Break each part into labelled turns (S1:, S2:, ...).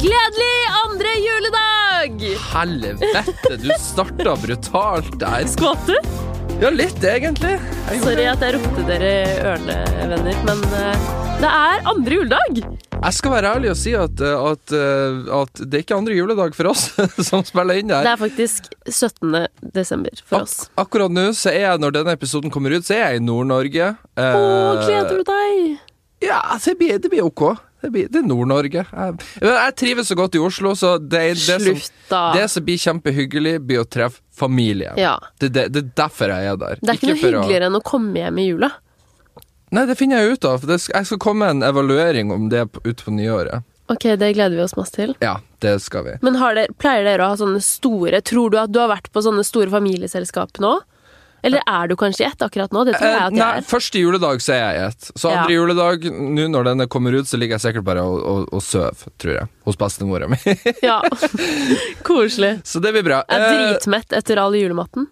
S1: Gledelig andre juledag!
S2: Helvete, du starta brutalt der.
S1: Skvatt du?
S2: Ja, litt egentlig. Jeg gjorde
S1: Sorry
S2: det.
S1: at jeg ropte dere ørnevenner, men eh, det er andre juledag!
S2: Jeg skal være ærlig og si at, eh, at, eh, at det er ikke andre juledag for oss som spiller inn
S1: Det
S2: der.
S1: er faktisk 17. desember for oss.
S2: Ak akkurat nå, så er jeg, når denne episoden kommer ut, så er jeg i Nord-Norge. Eh,
S1: Å, gleder du deg?
S2: Ja, altså, det blir, det blir ok. Det, blir, det er Nord-Norge. Jeg, men jeg trives så godt i Oslo, så det, er- det,
S1: Slutt, da.
S2: som, det som blir kjempehyggelig, blir å treffe familie.
S1: Ja.
S2: Det, det, det er derfor jeg er der.
S1: Det er ikke noe
S2: for å-
S1: hyggeligere enn å komme hjem i jula.
S2: Nei, det finner jeg ut av. Det skal, jeg skal komme med en evaluering om det på- utpå nyåret.
S1: Ok, det gleder vi oss masse til.
S2: Ja, det skal vi.
S1: Men har dere, pleier dere å ha sånne store Tror du at du har vært på sånne store familieselskap nå? Eller er du kanskje i ett akkurat nå? Det tror jeg
S2: Eh,
S1: at jeg
S2: nei,
S1: er.
S2: første juledag så er jeg i ett. Så andre
S1: Ja.
S2: juledag, nå når denne kommer ut, så ligger jeg sikkert bare og, og, og sover, tror jeg. Hos bestemora mi.
S1: Ja. Koselig.
S2: så det blir bra.
S1: Jeg er
S2: Eh,
S1: dritmett etter all julematten.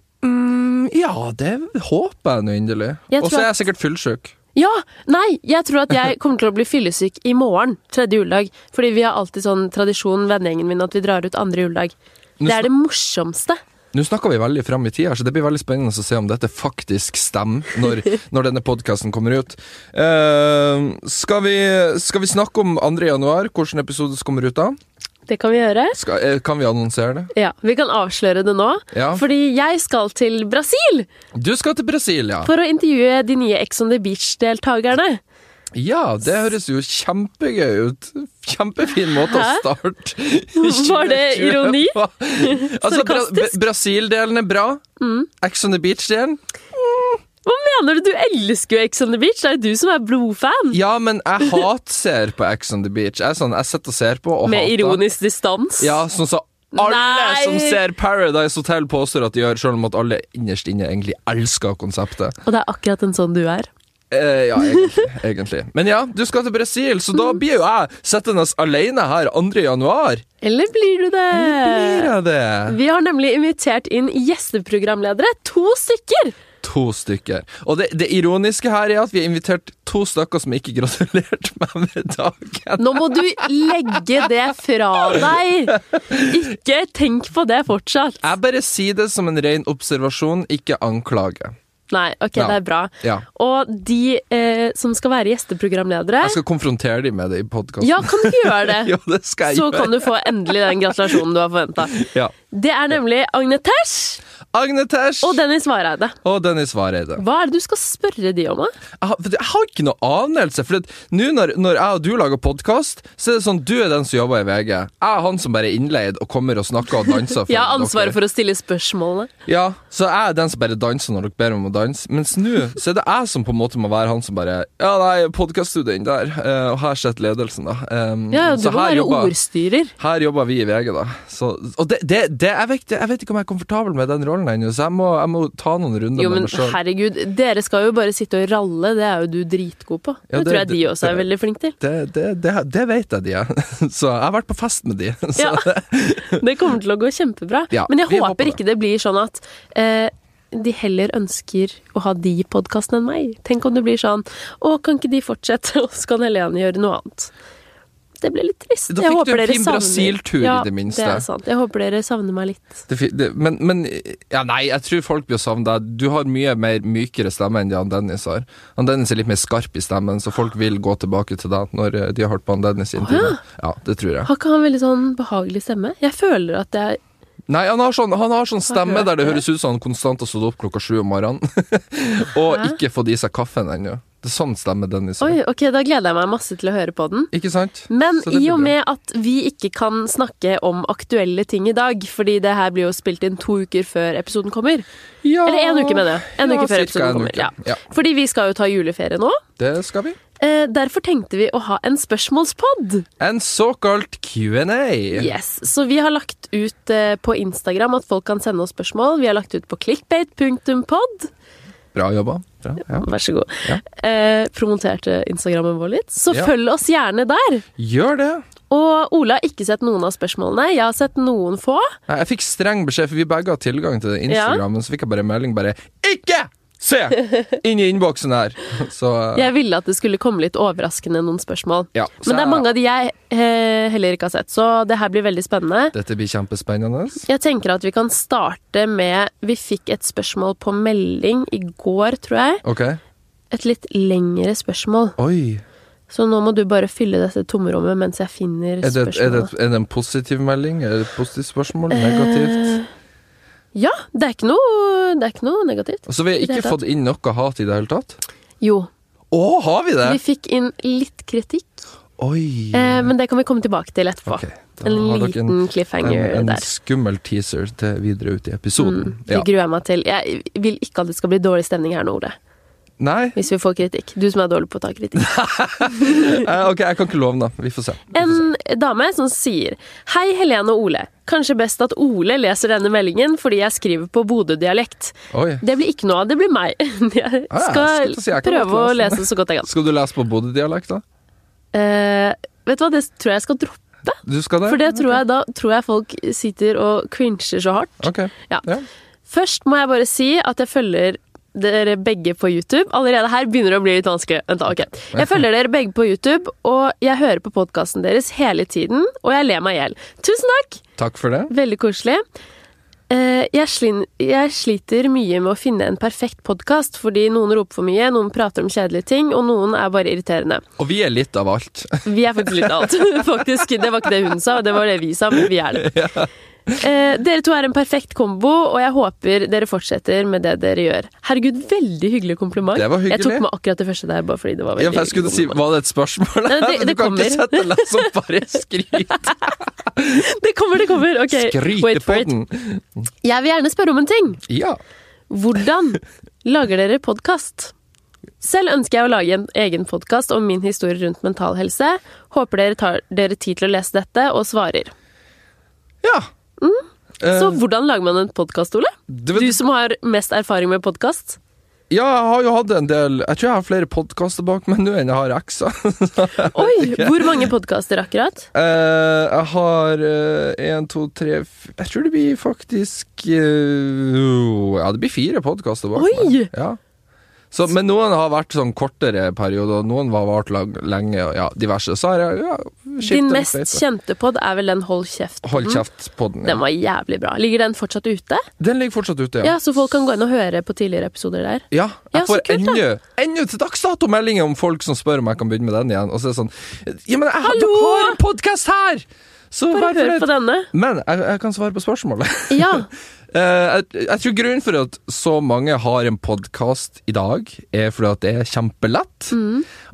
S2: ja, det håper jeg nå inderlig.
S1: Jeg
S2: Og
S1: tror
S2: så er jeg sikkert fullsjuk.
S1: Ja! Nei, jeg tror at jeg kommer til å bli fyllesyk i morgen, tredje juledag. Fordi vi har alltid sånn tradisjon, vennegjengen min, at vi drar ut andre juledag.
S2: Nå
S1: Det er det morsomste.
S2: Nå snakker vi veldig fram i tida, så det blir veldig spennende å se om dette faktisk stemmer når, når denne podkasten kommer ut. Eh, skal, vi, skal vi snakke om 2. januar, hvilken episode som kommer ut da?
S1: Det kan vi gjøre.
S2: Skal, eh, kan vi annonsere det?
S1: Ja, Vi kan avsløre det nå.
S2: Ja.
S1: Fordi jeg skal til Brasil
S2: Du skal til Brasil, ja.
S1: for å intervjue de nye Ex on the Beach-deltakerne.
S2: Ja, det høres jo kjempegøy ut. Kjempefin måte å starte.
S1: Var det
S2: 2020
S1: ironi?
S2: på. Altså, Bra
S1: Sarkastisk?
S2: Brasil-delen er bra.
S1: Mm.
S2: Ex on the beach-delen
S1: Hva mener du? Du elsker jo Ex on the Beach. Det er jo du som er blodfan.
S2: Ja, men jeg hatser på Ex on the beach. Jeg, er sånn, jeg sitter og ser på og
S1: Med
S2: hater.
S1: ironisk distans.
S2: Ja, sånn så alle
S1: Nei!
S2: som ser Paradise Hotel, påstår at de gjør, selv om at alle innerst inne egentlig elsker konseptet.
S1: Og det er akkurat en sånn du er.
S2: Eh, ja, egentlig, egentlig. Men ja, du skal til Brasil, så da blir jo jeg sittende alene her 2. januar.
S1: Eller blir du det? Eh.
S2: Blir jeg det?
S1: Vi har nemlig invitert inn gjesteprogramledere. To stykker!
S2: To stykker. Og det, det ironiske her er at vi har invitert to stykker som ikke gratulerte meg med dagen.
S1: Nå må du legge det fra deg! Ikke tenk på det fortsatt.
S2: Jeg bare sier det som en ren observasjon, ikke anklage.
S1: Nei, ok,
S2: Ja.
S1: det er bra.
S2: Ja.
S1: Og de eh, som skal være gjesteprogramledere
S2: Jeg skal konfrontere dem med det i podkasten.
S1: Ja, kan du gjøre det?
S2: Jo, det skal jeg
S1: Så
S2: gjøre.
S1: kan du få endelig den gratulasjonen du har forventa.
S2: Ja.
S1: Det er nemlig Agne Tesh
S2: Agne Tesh
S1: og Dennis Vareide.
S2: og Dennis Vareide.
S1: Hva er det du skal spørre de om? da?
S2: Jeg har, for jeg har ikke noe anelse. For at nå når, når jeg og du lager podkast, så er det sånn du er den som jobber i VG. Jeg er han som bare er innleid og kommer og snakker og danser. for
S1: Jeg har
S2: dere.
S1: ansvaret for å stille spørsmålene.
S2: Ja, så jeg er den som bare danser når dere ber meg om å danse. Mens nå så er det jeg som på en måte må være han som bare Ja, nei, podkaststudien der, eh, og her sitter ledelsen, da. Um,
S1: Ja, ja, du
S2: så
S1: må
S2: her
S1: være
S2: jobber-
S1: ordstyrer.
S2: Her jobber vi i VG, da. Så, og det, det, det, jeg, vet, ikke- jeg vet ikke om jeg er komfortabel med den rollen ennå, så jeg må, jeg må ta noen runder
S1: Jo,
S2: med
S1: men
S2: meg sjøl.
S1: herregud, dere skal jo bare sitte og ralle, det er jo du dritgod på.
S2: Ja,
S1: det,
S2: det-
S1: tror jeg de
S2: det-
S1: også er veldig flinke til.
S2: Det, det, det, det vet jeg de er. Så jeg har vært på fest med de. Så
S1: Ja. Det kommer til å gå kjempebra.
S2: Ja,
S1: men jeg
S2: vi
S1: håper,
S2: håper det.
S1: ikke det blir sånn at eh, de heller ønsker å ha de i podkasten enn meg. Tenk om det blir sånn Å, kan ikke de fortsette, og så kan Helene gjøre noe annet. Det blir litt trist.
S2: Da
S1: Jeg
S2: fikk du
S1: håper
S2: en
S1: dere
S2: fin
S1: savner-
S2: Brasil-tur i
S1: ja,
S2: det minste.
S1: Det er sant. Jeg håper dere savner meg litt.
S2: det, fi- det, men, men ja, Nei, jeg tror folk blir å savne deg. Du har mye mer mykere stemme enn det han Dennis har. Han Dennis er litt mer skarp i stemmen, så folk vil gå tilbake til deg når eh, de har hørt på han Dennis sin time. Ja, det tror jeg.
S1: Har ikke han veldig sånn behagelig stemme? Jeg føler at jeg
S2: Nei, han har sånn, han har sånn stemme
S1: hørt
S2: der det
S1: det.
S2: høres ut som han konstant har stått opp klokka sju om morgenen og ikke fått i seg kaffen ennå. Det er sånn stemme Dennis har.
S1: Oi, ok, da gleder jeg meg masse til å høre på den.
S2: Ikke sant?
S1: Men
S2: Så det
S1: i
S2: blir
S1: og
S2: bra.
S1: med at vi ikke kan snakke om aktuelle ting i dag, fordi det her blir jo spilt inn to uker før episoden kommer
S2: ja.
S1: Eller én uke, mener jeg. En
S2: Ja,
S1: uke før
S2: cirka
S1: episoden
S2: en
S1: kommer.
S2: uke.
S1: Ja.
S2: Ja.
S1: Fordi vi skal jo ta juleferie nå.
S2: Det skal vi.
S1: Eh, derfor tenkte vi å ha en spørsmålspod.
S2: En såkalt Q&A.
S1: Yes. Så vi har lagt ut eh, på Instagram at folk kan sende oss spørsmål. Vi har lagt ut på clickbate.pod.
S2: Bra jobba. Bra, ja.
S1: Vær så god.
S2: Ja.
S1: Eh, promoterte Instagrammen vår litt. Så
S2: Ja.
S1: følg oss gjerne der.
S2: Gjør det.
S1: Og Ole har ikke sett noen av spørsmålene. Jeg har sett noen få.
S2: Nei, jeg fikk streng beskjed, for vi begge har tilgang til Instagram, men så fikk jeg bare en melding bare Ikke Se! Inn i innboksen her! Så eh,
S1: Jeg ville at det skulle komme litt overraskende noen spørsmål.
S2: ja. Så
S1: Men det er mange av de jeg eh, heller ikke har sett, så det her blir veldig spennende.
S2: Dette blir kjempespennende.
S1: Jeg tenker at vi kan starte med Vi fikk et spørsmål på melding i går, tror jeg.
S2: Ok.
S1: Et litt lengre spørsmål.
S2: Oi.
S1: Så nå må du bare fylle dette tomrommet mens jeg finner
S2: Er det, er, det,
S1: spørsmålet.
S2: er det en positiv melding? Er det et positivt spørsmål? Negativt?
S1: Eh, Ja, det er ikke noe, det er ikke noe negativt.
S2: Så vi har
S1: i det
S2: ikke
S1: hele
S2: fått inn noe hat i det hele tatt?
S1: Jo.
S2: Å, har vi det?
S1: Vi fikk inn litt kritikk,
S2: Oi.
S1: eh, men det kan vi komme tilbake til etterpå.
S2: Mm. Ok, da
S1: En
S2: har dere
S1: liten
S2: en,
S1: cliffhanger
S2: en, en
S1: der. Mm,
S2: skummel teaser til videre ut i episoden.
S1: Det
S2: Ja.
S1: gruer jeg meg til. Jeg vil ikke at det skal bli dårlig stemning her nå, Ole.
S2: Nei?
S1: Hvis vi får kritikk. Du som er dårlig på å ta kritikk.
S2: Eh, ok, jeg kan ikke love noe. Vi får se. Vi får se.
S1: En dame som sier Hei Helene og Ole. Kanskje best at Ole leser denne meldingen fordi jeg skriver på Bodø-dialekt.
S2: Oi.
S1: Det blir ikke noe av, det blir meg. Jeg
S2: Ah, ja,
S1: skal
S2: skulle til å si, jeg kan
S1: prøve å
S2: godt lese.
S1: lese så godt jeg kan.
S2: Skal du lese på Bodø-dialekt, da?
S1: Eh, vet du hva, det tror jeg jeg skal droppe.
S2: Du skal det?
S1: For det tror jeg, da tror jeg folk sitter og cringer så hardt.
S2: Ok.
S1: Ja.
S2: Ja.
S1: Først må jeg bare si at jeg følger dere begge på YouTube. Allerede her begynner det å bli litt vanskelig. Vent da, ok. Jeg følger dere begge på YouTube, og jeg hører på podkasten deres hele tiden, og jeg ler meg i hjel. Tusen takk!
S2: Takk for det.
S1: Veldig koselig. Eh, Jeg, slin, jeg sliter mye med å finne en perfekt podkast, fordi noen roper for mye, noen prater om kjedelige ting, og noen er bare irriterende.
S2: Og vi er litt av alt.
S1: Vi er faktisk litt av alt. Faktisk, det var ikke det hun sa, det var det vi sa, men vi er det. Eh, dere to er en perfekt kombo, og jeg håper dere fortsetter med det dere gjør. Herregud, veldig hyggelig kompliment.
S2: Det var hyggelig.
S1: Jeg tok med akkurat det første der, bare fordi det var veldig
S2: Ja, for jeg skulle
S1: hyggelig
S2: si,
S1: kompliment.
S2: Var det et spørsmål?
S1: Nei, det-
S2: du
S1: det
S2: kan
S1: kommer.
S2: ikke sette deg som bare skryt.
S1: Det kommer, det kommer! Ok, wait for it.
S2: Skrytepodden.
S1: Jeg vil gjerne spørre om en ting.
S2: Ja.
S1: Hvordan lager dere podkast? Selv ønsker jeg å lage en egen podkast om min historie rundt mental helse. Håper dere tar dere tid til å lese dette og svarer.
S2: Ja. Eh,
S1: Så hvordan lager man en podkast, Ole?
S2: du
S1: Du
S2: vet,
S1: som har mest erfaring med podkast.
S2: ja, jeg har jo hatt en del Jeg tror jeg har flere podkaster bak meg nå enn jeg har ekser.
S1: Oi! Hvor mange podkaster akkurat?
S2: Eh, jeg har én, to, tre f- Jeg tror det blir faktisk eh, jo, Ja, det blir fire podkaster bak
S1: Oi!
S2: meg. Ja. Så, men noen har vært sånn kortere perioder, og noen har vart lang, lenge, og ja, diverse. Så har jeg ja, skiftet
S1: Din
S2: litt
S1: mest
S2: beite.
S1: kjente pod er vel den Hold kjeft.
S2: altså. Hold kjeft på den.
S1: Den
S2: Ja.
S1: var jævlig bra. Ligger den fortsatt ute?
S2: Den ligger fortsatt ute, ja.
S1: Ja, Så folk kan gå inn og høre på tidligere episoder der.
S2: Ja,
S1: Ja,
S2: jeg
S1: så
S2: får
S1: kult, da.
S2: ennå ennå til dags dato meldinger om folk som spør om jeg kan begynne med den igjen. Og så er det sånn Ja, men jeg har,
S1: Hallo!
S2: dere har en podkast her! Så
S1: Bare
S2: vær
S1: hør på
S2: fornøyd.
S1: denne.
S2: Men jeg, jeg kan svare på spørsmålet.
S1: Ja.
S2: Eh, jeg, jeg tror grunnen for at så mange har en podkast i dag, er fordi at det er kjempelett.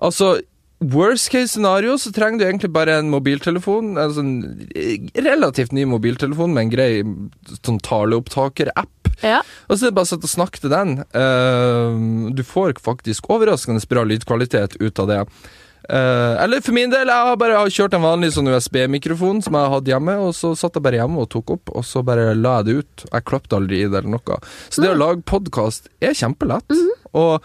S2: Altså, worst case scenario så trenger du egentlig bare en mobiltelefon. Altså en eh, relativt ny mobiltelefon med en grei sånn taleopptaker-app.
S1: ja.
S2: Og så er det bare å sette og snakke til den. Eh, du får faktisk overraskende bra lydkvalitet ut av det. Eh, eller for min del, jeg har bare kjørt en vanlig sånn USB-mikrofon som jeg hadde hjemme, og så satt jeg bare hjemme og tok opp, og så bare la jeg det ut. Jeg klappte aldri i det eller noe. Så det å lage podkast er kjempelett. Og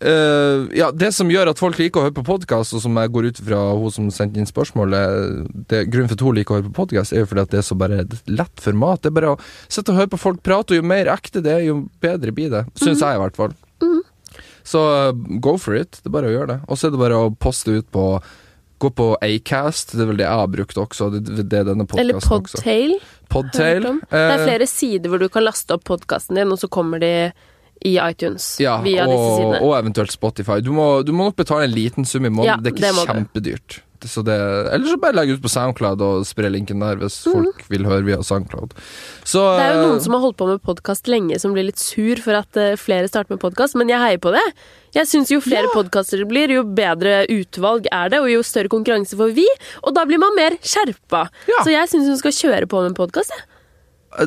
S2: eh, ja, det som gjør at folk liker å høre på podkast, og som jeg går ut fra hun som sendte inn spørsmålet det, Grunnen for at hun liker å høre på podkast, er jo fordi at det er så bare et lett format. Det er bare å sitte og høre på folk prate, og jo mer ekte det er, jo bedre blir det. Syns
S1: Mhm.
S2: jeg, i hvert fall. Så uh, go for it. Det er bare å gjøre det. Og så er det bare å poste ut på Gå på Acast, det er vel det jeg har brukt også. Det, det, det er denne
S1: Eller
S2: podkasten også.
S1: Podtail. hørt
S2: Podtail.
S1: om. Det er
S2: eh,
S1: flere sider hvor du kan laste opp podkasten din, og så kommer de i iTunes
S2: Ja,
S1: via disse
S2: og,
S1: sidene.
S2: og eventuelt Spotify. Du må, du må nok betale en liten sum i måneden.
S1: Ja,
S2: det er
S1: det må
S2: ikke
S1: du.
S2: kjempedyrt. Det- Så det, eller så bare legg ut på SoundCloud og spre linken der hvis folk vil høre via SoundCloud. Så
S1: Mhm. Det er jo
S2: eh,
S1: noen som har holdt på med podkast lenge, som blir litt sur for at eh, flere starter med podkast, men jeg heier på det. Jeg syns jo flere podkaster det blir, jo bedre utvalg er det, og jo større konkurranse får vi, og da blir man mer skjerpa.
S2: Ja.
S1: Så jeg syns hun skal kjøre på med en podkast, jeg.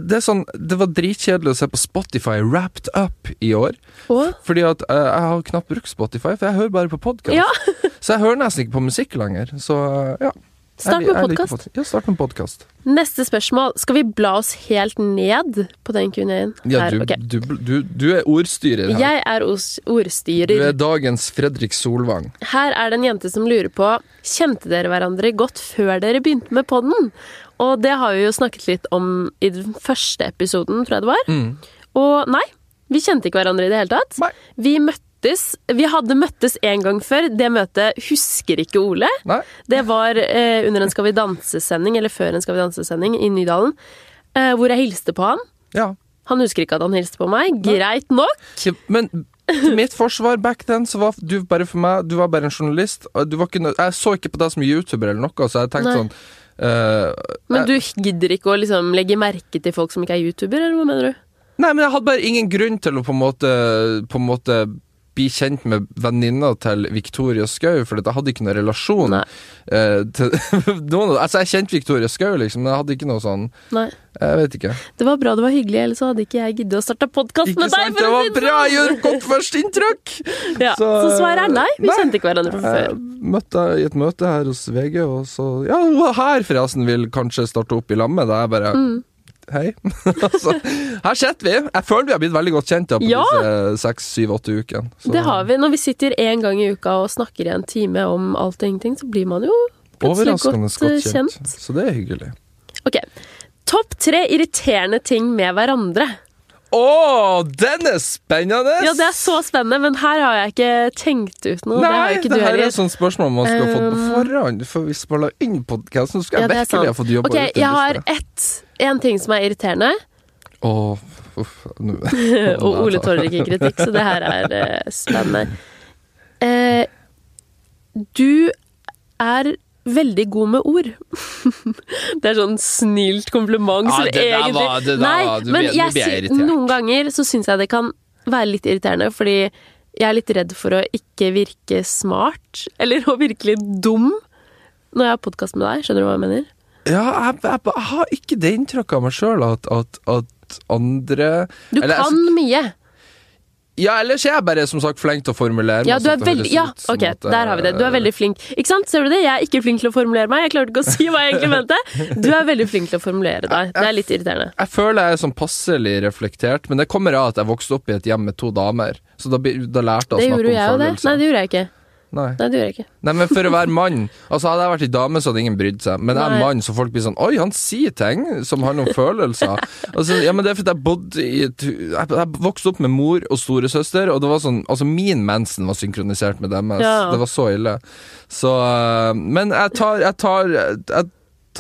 S2: det, er sånn, det var dritkjedelig å se på Spotify wrapped up i år.
S1: Og-
S2: Fordi at eh, jeg har knapt brukt Spotify, for jeg hører bare på podkast.
S1: Ja.
S2: så jeg hører nesten ikke på musikk lenger. Så eh, ja.
S1: Start
S2: Jeg-
S1: med
S2: jeg liker
S1: podcast.
S2: pod- Ja, start med podkast.
S1: Neste spørsmål. Skal vi bla oss helt ned på den Q&A-en?
S2: Ja,
S1: Her,
S2: du,
S1: ok.
S2: du, du, du er ordstyrer her.
S1: Jeg er os-
S2: Du
S1: ordstyrer.
S2: er dagens Fredrik Solvang.
S1: Her er det en jente som lurer på Kjente dere hverandre godt før dere begynte med podden? Og det har vi jo snakket litt om i den første episoden, tror jeg det var. Og nei, Vi kjente ikke hverandre i det hele tatt.
S2: Nei.
S1: Vi møttes. Vi hadde møttes en gang før. Det møtet husker ikke Ole.
S2: Nei.
S1: Det var eh, under en Skal vi danse-sending, eller før en Skal vi danse-sending i Nydalen, eh, hvor jeg hilste på han.
S2: Ja.
S1: Han husker ikke at han hilste på meg. Greit nok.
S2: Men til mitt forsvar back then, så var du bare for meg Du var bare en journalist. og Du var ikke, nø- jeg så ikke på deg som YouTuber eller noe, så jeg tenkte
S1: Nei.
S2: sånn eh,
S1: Men du gidder ikke å liksom legge merke til folk som ikke er youtuber, eller hva mener du?
S2: Nei, men jeg hadde bare ingen grunn til å på en måte, på en måte bli kjent med venninna til Victoria Skau, for jeg hadde ikke noen relasjon
S1: Nei.
S2: eh, til noen av Altså, jeg kjente Victoria Skau, liksom, men jeg hadde ikke noe sånn
S1: Nei.
S2: Jeg vet ikke.
S1: Det var bra det var hyggelig, ellers så hadde ikke jeg giddet å starte podkast
S2: Ikke
S1: med deg! for
S2: sant? Det
S1: å
S2: var
S1: si det sånn.
S2: bra! Jeg gjorde et godt førsteinntrykk!
S1: Ja, så,
S2: Så-
S1: svaret er nei. Vi
S2: Nei.
S1: kjente ikke hverandre fra
S2: Jeg
S1: før.
S2: møtte henne i et møte her hos VG, og så Ja, hun er her forresten vil kanskje starte opp i lammet. Da jeg bare
S1: Mm.
S2: Hei. altså, her sitter vi. Jeg føler vi har blitt veldig godt kjent da, på
S1: Ja.
S2: disse seks, syv, åtte ukene. Så-
S1: Det har vi. Når vi sitter én gang i uka og snakker i en time om alt og ingenting, så blir man jo plutselig
S2: Overraskende
S1: godt, eh, kjent.
S2: Så det er hyggelig.
S1: Ok. Topp tre irriterende ting med hverandre.
S2: Å, den er spennende!
S1: Ja, det er så spennende, men her har jeg ikke tenkt ut noe. det har
S2: Nei,
S1: jo ikke
S2: det
S1: du
S2: her er sånn
S1: heller.
S2: et sånt spørsmål man skal ha fått på
S1: Um,
S2: forhånd før vi spiller inn podkasten. Skal
S1: Ja,
S2: jeg
S1: det er sant.
S2: virkelig ha fått jobba
S1: Ok,
S2: ut
S1: jeg har ett, en ting som er irriterende,
S2: Å, uff. nå-
S1: Eh, og Ole tåler ikke kritikk, så det her er eh, spennende. Eh, du er veldig god med ord. det er sånn snilt kompliment.
S2: Ja,
S1: som
S2: det der
S1: egentlig-
S2: var- det der var-
S1: Nei,
S2: du
S1: men
S2: blir- du
S1: jeg
S2: blir
S1: sy-
S2: irritert.
S1: noen ganger så syns jeg det kan være litt irriterende, fordi jeg er litt redd for å ikke virke smart, eller å virkelig dum, når jeg har podkast med deg. Skjønner du hva jeg mener?
S2: Ja, jeg, jeg, jeg har ikke det inntrykket av meg sjøl at, at, at andre
S1: Du
S2: Eller, altså,
S1: kan mye.
S2: Ja, ellers er jeg bare som sagt flink til å formulere meg.
S1: Ja, du
S2: sånn
S1: er
S2: at det høres
S1: veldig, ja,
S2: ut som
S1: ok,
S2: at eh, jeg-
S1: der har vi det. Du er veldig flink. Ikke sant? Ser du det? Jeg er ikke flink til å formulere meg. Jeg klarte ikke å si hva jeg egentlig mente. Du er veldig flink til å formulere deg. Det er litt irriterende.
S2: Jeg føler jeg er sånn passelig reflektert, men det kommer av at jeg vokste opp i et hjem med to damer. Så da, blir- da lærte
S1: Det
S2: jeg å snakke
S1: gjorde jo jeg
S2: om
S1: jo, det.
S2: følelser.
S1: Nei, det gjorde jeg ikke.
S2: Nei.
S1: Nei, det gjorde jeg ikke.
S2: Nei, men for å være mann Altså Hadde jeg vært ei dame, så hadde ingen brydd seg. Men jeg
S1: Nei.
S2: er mann, så folk blir sånn Oi, han sier ting som handler om følelser. Altså, ja, men det er fordi jeg bodde i et hu- Jeg, jeg vokste opp med mor og storesøster, og det var sånn Altså, min mensen var synkronisert med deres.
S1: Ja.
S2: Det var så ille. Så øh, Men jeg tar Jeg tar, jeg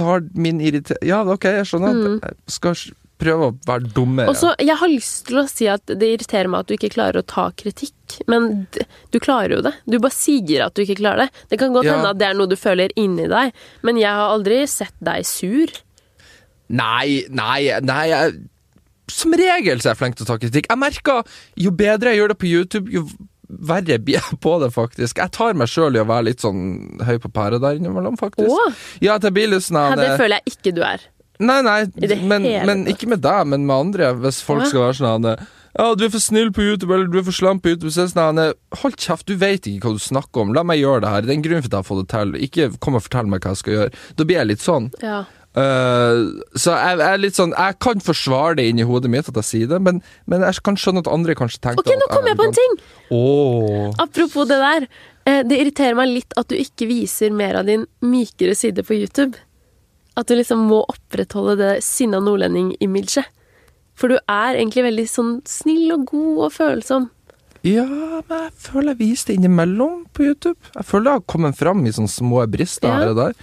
S2: tar min irriter... Ja, OK, jeg skjønner. Jeg skal s- prøve å være
S1: Mm.
S2: dummere.
S1: Og så, jeg har lyst til å si at det irriterer meg at du ikke klarer å ta kritikk, men d- du klarer jo det. Du bare sier at du ikke klarer det. Det kan godt
S2: Ja.
S1: hende at det er noe du føler inni deg, men jeg har aldri sett deg sur.
S2: Nei, nei, nei jeg, Som regel så er jeg flink til å ta kritikk. Jeg merker jo bedre jeg gjør det på YouTube, jo verre blir jeg på det, faktisk. Jeg tar meg sjøl i å være litt sånn høy på pæra der innimellom, faktisk.
S1: Åh.
S2: Ja, at jeg blir litt sånn
S1: Ja, det
S2: eh,
S1: føler jeg ikke du er.
S2: Nei, nei,
S1: det
S2: men,
S1: hele
S2: men
S1: tatt.
S2: ikke med deg, men med andre. Hvis folk
S1: Åh.
S2: skal være sånn eh, ja, du er for snill på YouTube, eller du er for slam på YouTube. Så er det sånn, eh, Hold kjeft, du vet ikke hva du snakker om. La meg gjøre det her. Det er en grunn for at jeg har fått det til. Ikke kom og fortell meg hva jeg skal gjøre. Da blir jeg litt sånn.
S1: Ja.
S2: Eh, så jeg, jeg er litt sånn Jeg kan forsvare det inni hodet mitt at jeg sier det, men, men jeg kan skjønne at andre kanskje tenker
S1: Ok, nå
S2: at
S1: kom jeg på en ting!
S2: Åh.
S1: Apropos det der. eh, Det irriterer meg litt at du ikke viser mer av din mykere side på YouTube. At du liksom må opprettholde det sinna nordlending-imaget. For du er egentlig veldig sånn snill og god og følsom.
S2: Ja, men jeg føler jeg viser det innimellom på YouTube. Jeg føler jeg har kommet fram i sånne små brister
S1: Ja.
S2: her og der.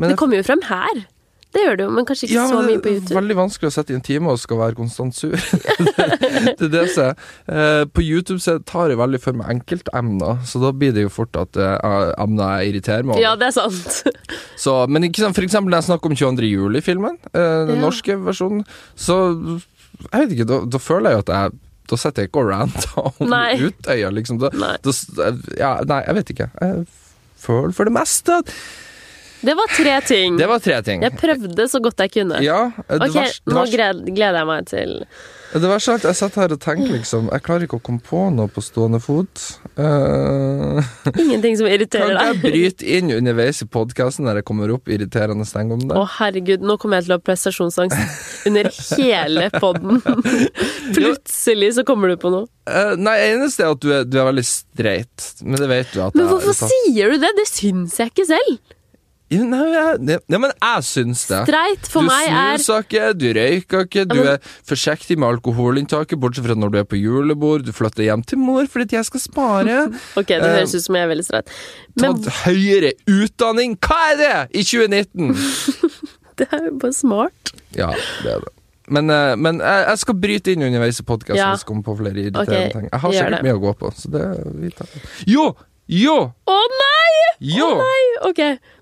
S2: Men
S1: Det
S2: jeg-
S1: kommer jo frem her. Det gjør det jo, men kanskje ikke
S2: ja,
S1: så
S2: men
S1: mye på
S2: det er
S1: YouTube.
S2: veldig vanskelig å sitte i en time og skal være konstant sur. det det er det som er. Eh, på YouTube så tar jeg veldig for meg enkeltemner, så da blir det jo fort at det er emner jeg irriterer meg over.
S1: Ja, det er sant.
S2: Så, men ikke sant, for eksempel når jeg snakker om 22. juli-filmen, eh, den
S1: Ja.
S2: norske versjonen, så jeg vet ikke, da, da føler jeg jo at jeg da setter jeg ikke og ranter om
S1: Nei.
S2: Utøya, liksom. Da,
S1: Nei.
S2: da, s- ja, nei, jeg vet ikke. Jeg føler for det meste at
S1: Det var tre ting.
S2: Det var tre ting.
S1: Jeg prøvde så godt jeg kunne.
S2: Ja, eh, det
S1: ok,
S2: verste- det
S1: nå
S2: verste-
S1: gled- gleder jeg meg til
S2: det verste er at jeg sitter her og tenker, liksom Jeg klarer ikke å komme på noe på stående fot. Eh,
S1: ingenting som
S2: kan
S1: irriterer
S2: ikke jeg
S1: deg.
S2: bryte inn underveis i podkasten når jeg kommer opp irriterende ting om det?
S1: Å, herregud, nå kommer jeg til å ha prestasjonsangst under hele podden. Plutselig så kommer du på noe.
S2: Eh, nei, eneste er at du er, du er veldig streit, men det vet du at
S1: Men
S2: jeg-
S1: hvorfor
S2: at jeg-
S1: sier du det? Det syns jeg ikke selv.
S2: Ja, Nei, jeg, ja, men jeg syns det.
S1: Streit for
S2: du
S1: meg er
S2: snuser ikke, du røyker ikke, du er forsiktig med alkoholinntaket, bortsett fra når du er på julebord, du flytter hjem til mor fordi at jeg skal spare.
S1: Ok, det
S2: Eh,
S1: høres ut som jeg er veldig streit. Men
S2: Tatt høyere utdanning, hva er det?! I 2019!
S1: det er jo bare smart.
S2: Ja, det er det. Men, eh, men jeg, jeg skal bryte inn underveis i podkasten
S1: Ja.
S2: hvis det kommer på flere irriterende
S1: Ok,
S2: ting. Jeg har
S1: gjør
S2: sikkert
S1: det.
S2: mye å gå på, så det vi tar det. Jo! Jo!
S1: Å nei!
S2: Jo!
S1: Ok,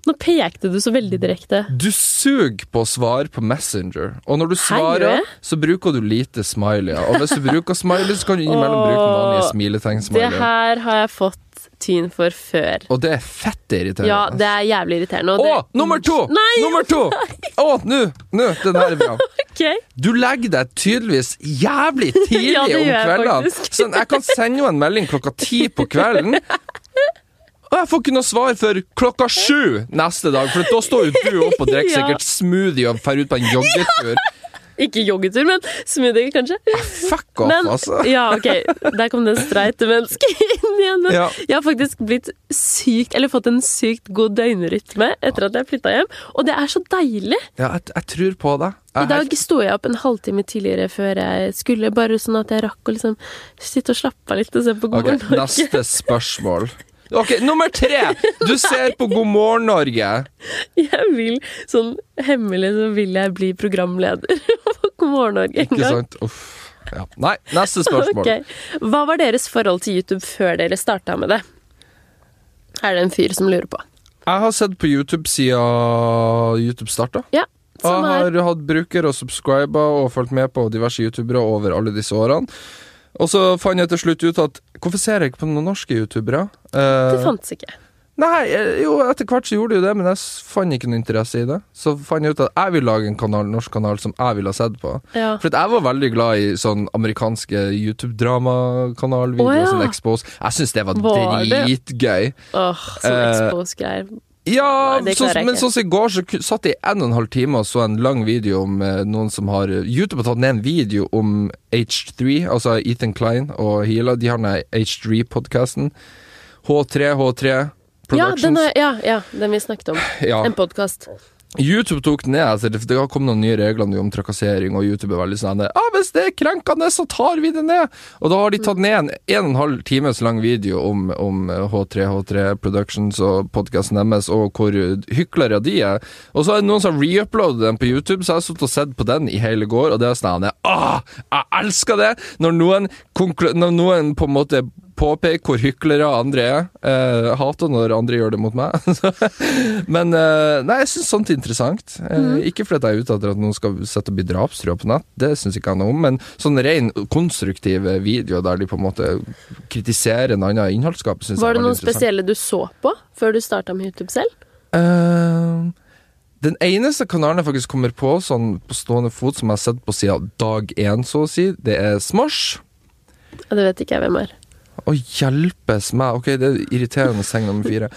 S1: nå pekte du så veldig direkte.
S2: Du suger på å svare på Messenger, og når du
S1: gjør
S2: svarer,
S1: jeg?
S2: så bruker du lite smileyer. Og hvis du bruker smileyer, så kan du innimellom bruke den vanlige
S1: Det
S2: smiletegn-smileyen.
S1: her har jeg fått tyn for før.
S2: Og det er fett irriterende.
S1: Ja, det er jævlig irriterende. Og
S2: Å,
S1: det,
S2: nummer to!
S1: Nei!
S2: Nummer to! Å, nå! Nå, den her er bra.
S1: Ok.
S2: Du legger deg tydeligvis jævlig tidlig
S1: Ja, det
S2: om
S1: gjør jeg
S2: kveldene.
S1: faktisk.
S2: Sånn, jeg kan sende henne en melding klokka ti på kvelden. Og jeg får ikke noe svar før klokka sju neste dag, for da står jo du opp og drikker
S1: Ja.
S2: sikkert smoothie og drar ut på en joggetur.
S1: Ikke joggetur, men smoothie, kanskje.
S2: Fuck off,
S1: Men,
S2: altså.
S1: ja, ok, der kom det streite mennesket inn igjen. Men
S2: Ja.
S1: Jeg har faktisk blitt sykt, eller fått en sykt god døgnrytme etter at jeg flytta hjem. Og det er så deilig!
S2: Ja, jeg, jeg tror på deg.
S1: I
S2: Jeg er
S1: dag sto jeg opp en halvtime tidligere før jeg skulle, bare sånn at jeg rakk å liksom sitte og slappe av litt og se på God
S2: Ok,
S1: morgen Norge.
S2: neste spørsmål. Ok, nummer tre! Du ser på God morgen Norge.
S1: Jeg vil, sånn hemmelig så vil jeg bli programleder for God morgen Norge en
S2: Ikke
S1: gang.
S2: sant? Uff. Ja. Nei, neste spørsmål.
S1: Ok. Hva var deres forhold til YouTube før dere starta med det? Er det en fyr som lurer på?
S2: Jeg har sett på YouTube siden YouTube starta.
S1: Ja,
S2: Jeg
S1: som er
S2: har hatt bruker og subscriber og fulgt med på diverse youtubere over alle disse årene. Og så fant jeg til slutt ut at hvorfor ser jeg ikke på noen norske youtubere? Eh,
S1: Det fantes ikke.
S2: nei, eh, jo, etter hvert så gjorde jeg jo det, men jeg s- fant ikke noe interesse i det. Så fant jeg ut at jeg vil lage en kanal, norsk kanal som jeg ville ha sett på.
S1: Ja.
S2: For at jeg var veldig glad i sånn amerikanske
S1: Å,
S2: YouTube-dramakanalvideoer.
S1: ja.
S2: Sånn Expose. Jeg syns det var,
S1: Var det?
S2: dritgøy.
S1: Åh, sånn
S2: Eh,
S1: Expose-greier.
S2: Ja,
S1: Nei, det
S2: sånn-
S1: klarer jeg
S2: men
S1: ikke.
S2: sånn som i går, så ku- satt jeg en og en halv time og så en lang video om eh, noen som har YouTube har tatt ned en video om H3, altså Ethan Klein og Hila. De har den H3-podkasten. H3, H3
S1: Ja, den
S2: Productions.
S1: er, ja, ja, den vi snakket om.
S2: Ja,
S1: En podkast.
S2: YouTube tok den ned, altså, det det har kommet noen nye regler nå om trakassering, og YouTube er veldig sånn ah, 'Hvis det er krenkende, så tar vi det ned!' Og da har de tatt ned en en og en halv times lang video om, om H3, H3 Productions og podkasten deres, og hvor hyklere de er. Og så er det noen som har reuploadet den på YouTube, så jeg har sittet og sett på den i hele går, og det er sånn ah, Jeg elsker det! Når noen, konklu- når noen på en måte påpeker hvor hyklere andre er. Eh, jeg hater når andre gjør det mot meg. Men eh, nei, jeg syns sånt er interessant. Eh,
S1: Mhm.
S2: Ikke fordi jeg er ute etter at noen skal sette og bli drapstrua på nett, det syns ikke jeg noe om, men sånn ren konstruktiv video der de på en måte kritiserer en annen innholdsskaper, syns jeg
S1: Var
S2: er
S1: det
S2: veldig
S1: noen
S2: interessant.
S1: spesielle du så på før du starta med YouTube selv?
S2: Eh, den eneste kanalen jeg faktisk kommer på sånn på stående fot, som jeg har sett på siden dag én, så å si, det er Smosh.
S1: Ja, Det vet ikke jeg hvem er.
S2: Å, hjelpes meg! Ok, det er irriterende seng nummer fire.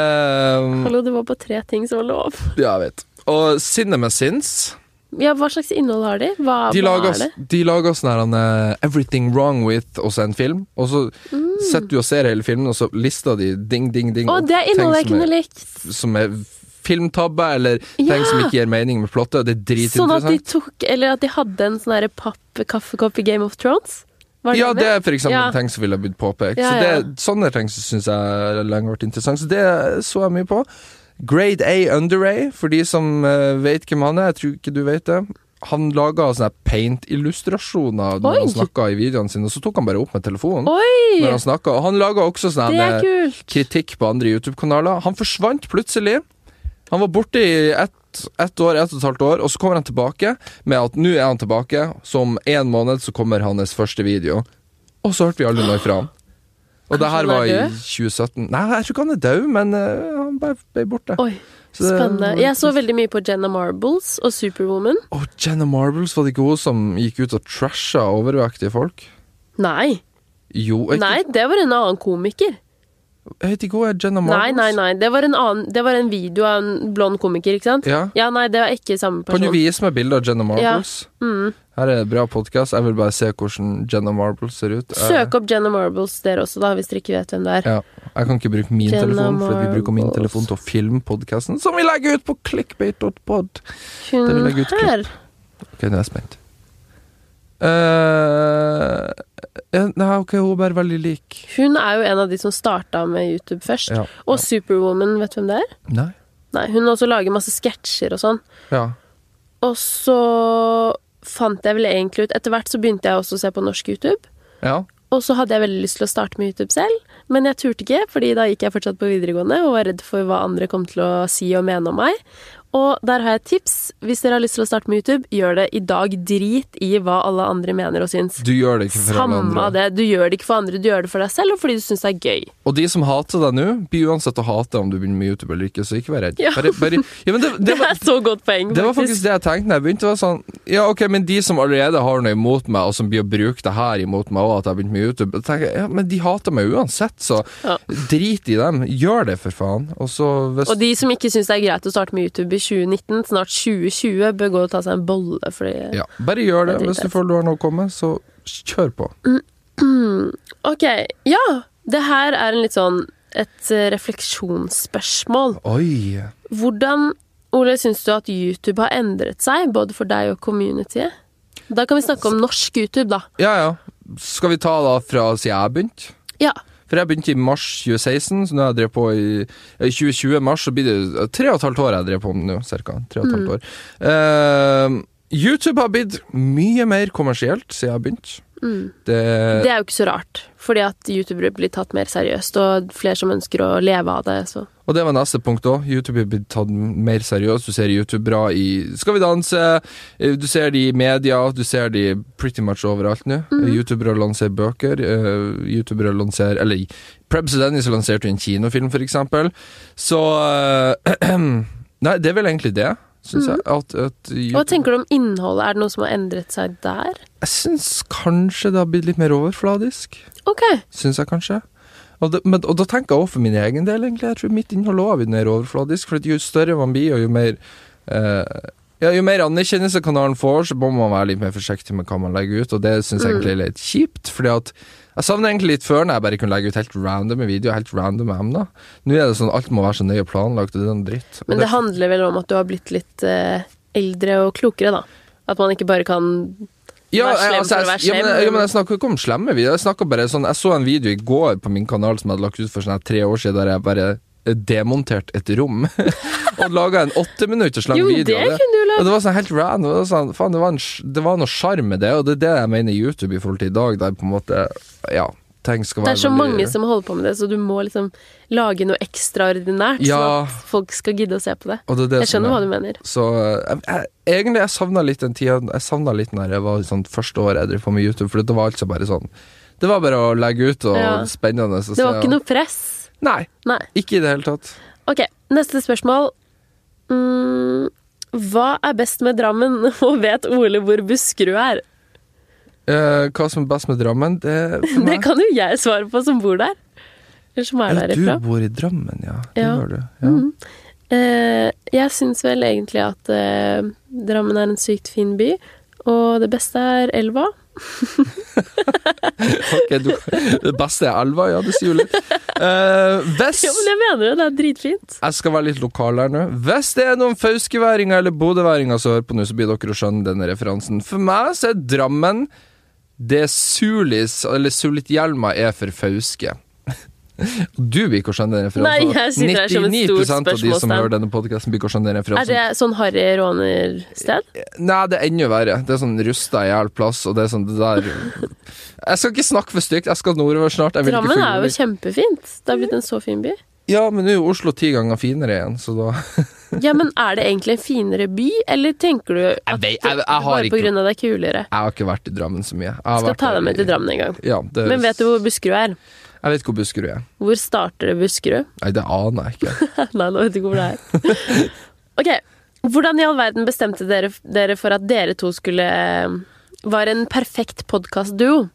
S2: Eh,
S1: Hallo, det var bare tre ting som var lov.
S2: ja, jeg vet. Og Sinne med Sins.
S1: Ja, Hva slags innhold har de? Hva,
S2: De
S1: hva
S2: lager,
S1: er det?
S2: de lager sånn her eh, 'Everything Wrong With' og så en film, og så setter du og ser hele filmen, og så lister de ding, ding, ding
S1: Mm. Å,
S2: opp
S1: det er innhold jeg
S2: ting som
S1: kunne
S2: er,
S1: likt!
S2: som er filmtabbe, eller
S1: Ja!
S2: ting som ikke gir mening med plottet. Det er
S1: Sånn at de
S2: dritinteressant.
S1: tok Eller at de hadde en sånn derre papp-kaffekopp i Game of Thrones? Var
S2: ja, det
S1: med?
S2: er for eksempel
S1: Ja.
S2: ting som ville blitt påpekt.
S1: Ja,
S2: så det,
S1: ja.
S2: Sånne ting syns jeg lenge har vært interessant, så det så jeg mye på. Grade A Underay, for de som eh, vet hvem han er, jeg tror ikke du vet det. Han laga sånne her paint-illustrasjoner
S1: Oi!
S2: når han snakka i videoene sine, og så tok han bare opp med telefonen.
S1: Oi!
S2: når han snakket, Og han laga også sånn
S1: Det er
S2: her, eh,
S1: kult!
S2: kritikk på andre YouTube-kanaler. Han forsvant plutselig. Han var borte i ett ett år, ett og et halvt år, og så kommer han tilbake med at nå er han tilbake. Så om én måned så kommer hans første video. Og så hørte vi aldri noe fra han. Og det
S1: Kanskje
S2: her
S1: han er
S2: var i
S1: død?
S2: 2017. Nei, jeg tror ikke han er død, men eh, han bare ble borte.
S1: Oi,
S2: Så det-
S1: spennende. Jeg så veldig mye på Jenna Marbles og Superwoman.
S2: Og Jenna Marbles, var det ikke hun som gikk ut og trasha overvektige folk?
S1: Nei,
S2: Jo, jeg,
S1: nei, det var en annen komiker.
S2: Heter ikke hun Jenna Marbles?
S1: Nei, nei, nei. Det var en, annen, det var en video av en blond komiker, ikke sant?
S2: Ja.
S1: Ja, nei, det var ikke samme
S2: Kan du
S1: person.
S2: vise meg bilder av Jenna Marbles?
S1: Mm.
S2: Her er en bra podkast. Jeg vil bare se hvordan Jenna Marbles ser ut. Jeg,
S1: Søk opp Jenna Marbles dere også, da, hvis dere ikke vet hvem det er.
S2: ja. jeg kan ikke bruke min
S1: Jenna
S2: telefon, for vi bruker min
S1: Marbles.
S2: telefon til å filme podkasten, som vi legger ut på clickbait.pod. det vil
S1: Hun
S2: jeg gutte
S1: her.
S2: Ok, nå er jeg spent. Eh, ja, nei, ok, hun er bare veldig lik.
S1: Hun er jo en av de som starta med YouTube først.
S2: Ja.
S1: Og Superwoman, vet du hvem det er?
S2: Nei.
S1: Nei, hun også lager masse sketsjer og sånn.
S2: Ja.
S1: Og så fant jeg vel egentlig ut Etter hvert så begynte jeg også å se på norsk YouTube.
S2: ja.
S1: Og så hadde jeg veldig lyst til å starte med YouTube selv, men jeg turte ikke, fordi da gikk jeg fortsatt på videregående og var redd for hva andre kom til å si og mene om meg. Og der har jeg et tips. Hvis dere har lyst til å starte med YouTube, gjør det i dag. Drit i hva alle andre mener og syns.
S2: Du gjør det ikke for alle
S1: Samme
S2: andre.
S1: av det. Du gjør det ikke for andre, du gjør det for deg selv og fordi du syns det er gøy.
S2: Og de som hater deg nå, blir uansett å hate om du begynner med YouTube eller ikke, så ikke vær redd.
S1: Ja.
S2: Bare, bare, ja, men det, det,
S1: Det
S2: var,
S1: er så godt poeng,
S2: det var
S1: faktisk.
S2: faktisk det jeg tenkte da jeg begynte. Var sånn, ja, ok, Men de som allerede har noe imot meg, og som blir å bruke det her imot meg òg, at jeg begynte med YouTube, da tenker jeg, ja, men de hater meg uansett, så
S1: Ja.
S2: drit i dem. Gjør det, for faen. Og så hvis
S1: Og de som ikke syns det er greit å starte med YouTube i 2019, snart 2020, bør gå og ta seg en bolle, fordi
S2: ja, Bare gjør det.
S1: Det er
S2: Hvis du
S1: dritt.
S2: føler du har noe å komme, så kjør på.
S1: Ok, ja. Det her er en litt sånn et eh, refleksjonsspørsmål.
S2: Oi.
S1: Hvordan, Ole, syns du at YouTube har endret seg, både for deg og communityet? Da kan vi snakke om norsk YouTube, da.
S2: Ja ja. Skal vi ta da fra siden jeg begynte?
S1: Ja.
S2: For jeg begynte i mars 2016, så nå har jeg drevet på i eh, 2020 mars, så blir det tre og et halvt år jeg drev på med nå, cirka. Tre og et halvt år. Eh, YouTube har blitt mye mer kommersielt siden jeg begynte. Det,
S1: Mm. Det er jo ikke så rart, fordi at youtubere blir tatt mer seriøst, og flere som ønsker å leve av det. Så.
S2: og det var neste punkt òg. YouTube er blitt tatt mer seriøst. Du ser youtubere i Skal vi danse, eh, du ser de i media, du ser de pretty much overalt nå. Eh, Youtubere lanserer bøker, eh, youtubere lanserer Eller Prebz og Dennis lanserte jo en kinofilm, for eksempel. Så eh, Nei, det er vel egentlig det, syns jeg. At, at
S1: Hva
S2: YouTube,
S1: tenker du om innholdet? Er det noe som har endret seg der?
S2: jeg syns kanskje det har blitt litt mer overfladisk.
S1: Ok.
S2: Syns jeg kanskje. Og, det, men, og da tenker jeg òg for min egen del, egentlig. Jeg tror mitt innhold òg har blitt mer overfladisk. For at jo større man blir, og jo mer eh, ja, Jo mer anerkjennelse kanalen får, så må man være litt mer forsiktig med hva man legger ut, og det syns
S1: Mm.
S2: jeg egentlig er litt kjipt. Fordi at jeg savner egentlig litt før når jeg bare kunne legge ut helt randome videoer, helt randome emner. Nå er det sånn alt må være så nøye planlagt, og det er noe dritt. Og
S1: Men det handler vel om at du har blitt litt eh, eldre og klokere, da. At man ikke bare kan være slem for å være
S2: jeg, ja, men,
S1: slem,
S2: ja, men
S1: men-
S2: jeg snakker ikke om slemme videoer. Jeg snakker bare sånn Jeg så en video i går på min kanal som jeg hadde lagt ut for sånn her tre år siden, der jeg bare eh, demonterte et rom. og laga en åtteminutter slem
S1: Jo,
S2: video.
S1: det
S2: av
S1: kunne du lagd.
S2: og det var sånn helt random. Det var, sånn, faen, det var, en, sj- det var noe sjarm med det, og det er det jeg mener YouTube i forhold til i dag, der på en måte Ja, ting skal
S1: Det
S2: være
S1: er så
S2: veldig-
S1: mange som holder på med det, så du må liksom lage noe ekstraordinært,
S2: Ja.
S1: sånn at folk skal gidde å se på det.
S2: og det er sånn, det
S1: Jeg
S2: som
S1: skjønner
S2: er-
S1: hva du mener.
S2: Så eh, jeg, jeg, egentlig jeg savna litt den tida Jeg savna litt når jeg var i sånn første året jeg drev på med YouTube, for det var altså bare sånn Det var bare å legge ut og
S1: Ja.
S2: spennende. Så
S1: Det var ikke noe press.
S2: Nei,
S1: Nei.
S2: ikke i det hele tatt.
S1: Ok, neste spørsmål. Mm, hva er best med Drammen, og vet Ole hvor Buskerud er?
S2: Eh, hva som er best med Drammen, det
S1: Det
S2: for meg-
S1: kan jo jeg svare på, som bor der. Eller som er
S2: Ja,
S1: derifra.
S2: Du bor i Drammen, ja. Det
S1: Ja. Mm.
S2: gjør du. Ja.
S1: Eh, jeg syns vel egentlig at eh, Drammen er en sykt fin by, og det beste er elva.
S2: Ok, du, det beste er elva, ja, det sier jo litt. Eh, hvis
S1: Ja, men jeg mener det, det er dritfint.
S2: Jeg skal være litt lokal her nå. Hvis det er noen fauskeværinger eller bodøværinger som hører på nå, så blir dere å skjønne denne referansen. For meg så er Drammen det Sulis, eller Sulitjelma er for fauske. Du blir ikke å skjønne den referansen.
S1: Nei, jeg sitter her som et stort
S2: 99% av de som
S1: spørsmålstegn.
S2: hører denne podcasten blir ikke å skjønne den
S1: Er
S2: referansen.
S1: det sånn harry rånersted?
S2: Nei, det er enda verre. Det er sånn rusta i hjel plass, og det er sånn det der Jeg skal ikke snakke for stygt, jeg skal nordover snart. Jeg vil
S1: Drammen
S2: ikke
S1: er jo
S2: fugle-
S1: kjempefint. Det har blitt en så fin by.
S2: Ja, men nå er jo Oslo ti ganger finere igjen, så da
S1: Ja, men er det egentlig en finere by, eller tenker du at
S2: vet- jeg- jeg har
S1: bare på
S2: ikke-
S1: grunn av det er kulere?
S2: Jeg har ikke vært i Drammen så mye. Jeg har
S1: Skal
S2: vært
S1: ta
S2: der
S1: deg med til
S2: i-
S1: Drammen en gang.
S2: Ja, det,
S1: Men vet du hvor Buskerud er?
S2: Jeg vet hvor Buskerud er.
S1: Hvor starter det Buskerud?
S2: Nei, det aner jeg ikke.
S1: Nei, nå vet du ikke hvor det er. Ok, hvordan i all verden bestemte dere, dere for at dere to skulle eh, var en perfekt podcastduo?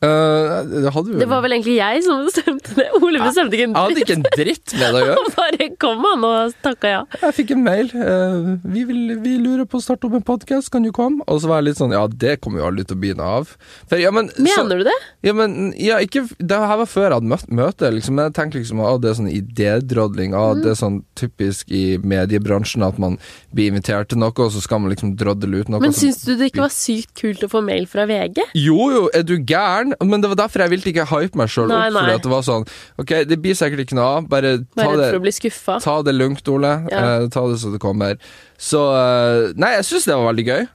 S2: Eh, det hadde vi
S1: Det var vel egentlig jeg som bestemte det. Ole bestemte ikke en
S2: Jeg hadde
S1: dritt.
S2: ikke en dritt med det å gjøre.
S1: Han bare kom, han, og takka ja.
S2: Jeg fikk en mail. eh, vi, vil, 'Vi lurer på å starte opp en podkast, kan du komme?' Og så var jeg litt sånn Ja, det kommer jo aldri til å begynne av. For, ja, men, så,
S1: Mener du det?
S2: ja, men ja, ikke, Det her var før jeg hadde møtt møte, liksom. Men jeg tenkte liksom at det er sånn idédrodling. Ah, Det er sånn typisk i mediebransjen at man blir invitert til noe, og så skal man liksom drodle ut noe.
S1: Men
S2: som-
S1: syns du det ikke var sykt kult å få mail fra VG?
S2: Jo, jo, er du gæren? Men det var derfor jeg ville ikke hype meg sjøl
S1: Nei,
S2: opp. Fordi
S1: nei.
S2: at det var sånn Ok, det blir sikkert ikke noe av. Bare
S1: Var
S2: ta
S1: redd
S2: det,
S1: for å bli skuffa?
S2: ta det lugnt, Ole.
S1: Ja.
S2: Eh, ta det så det kommer. Så eh, Nei, jeg syns det var veldig gøy.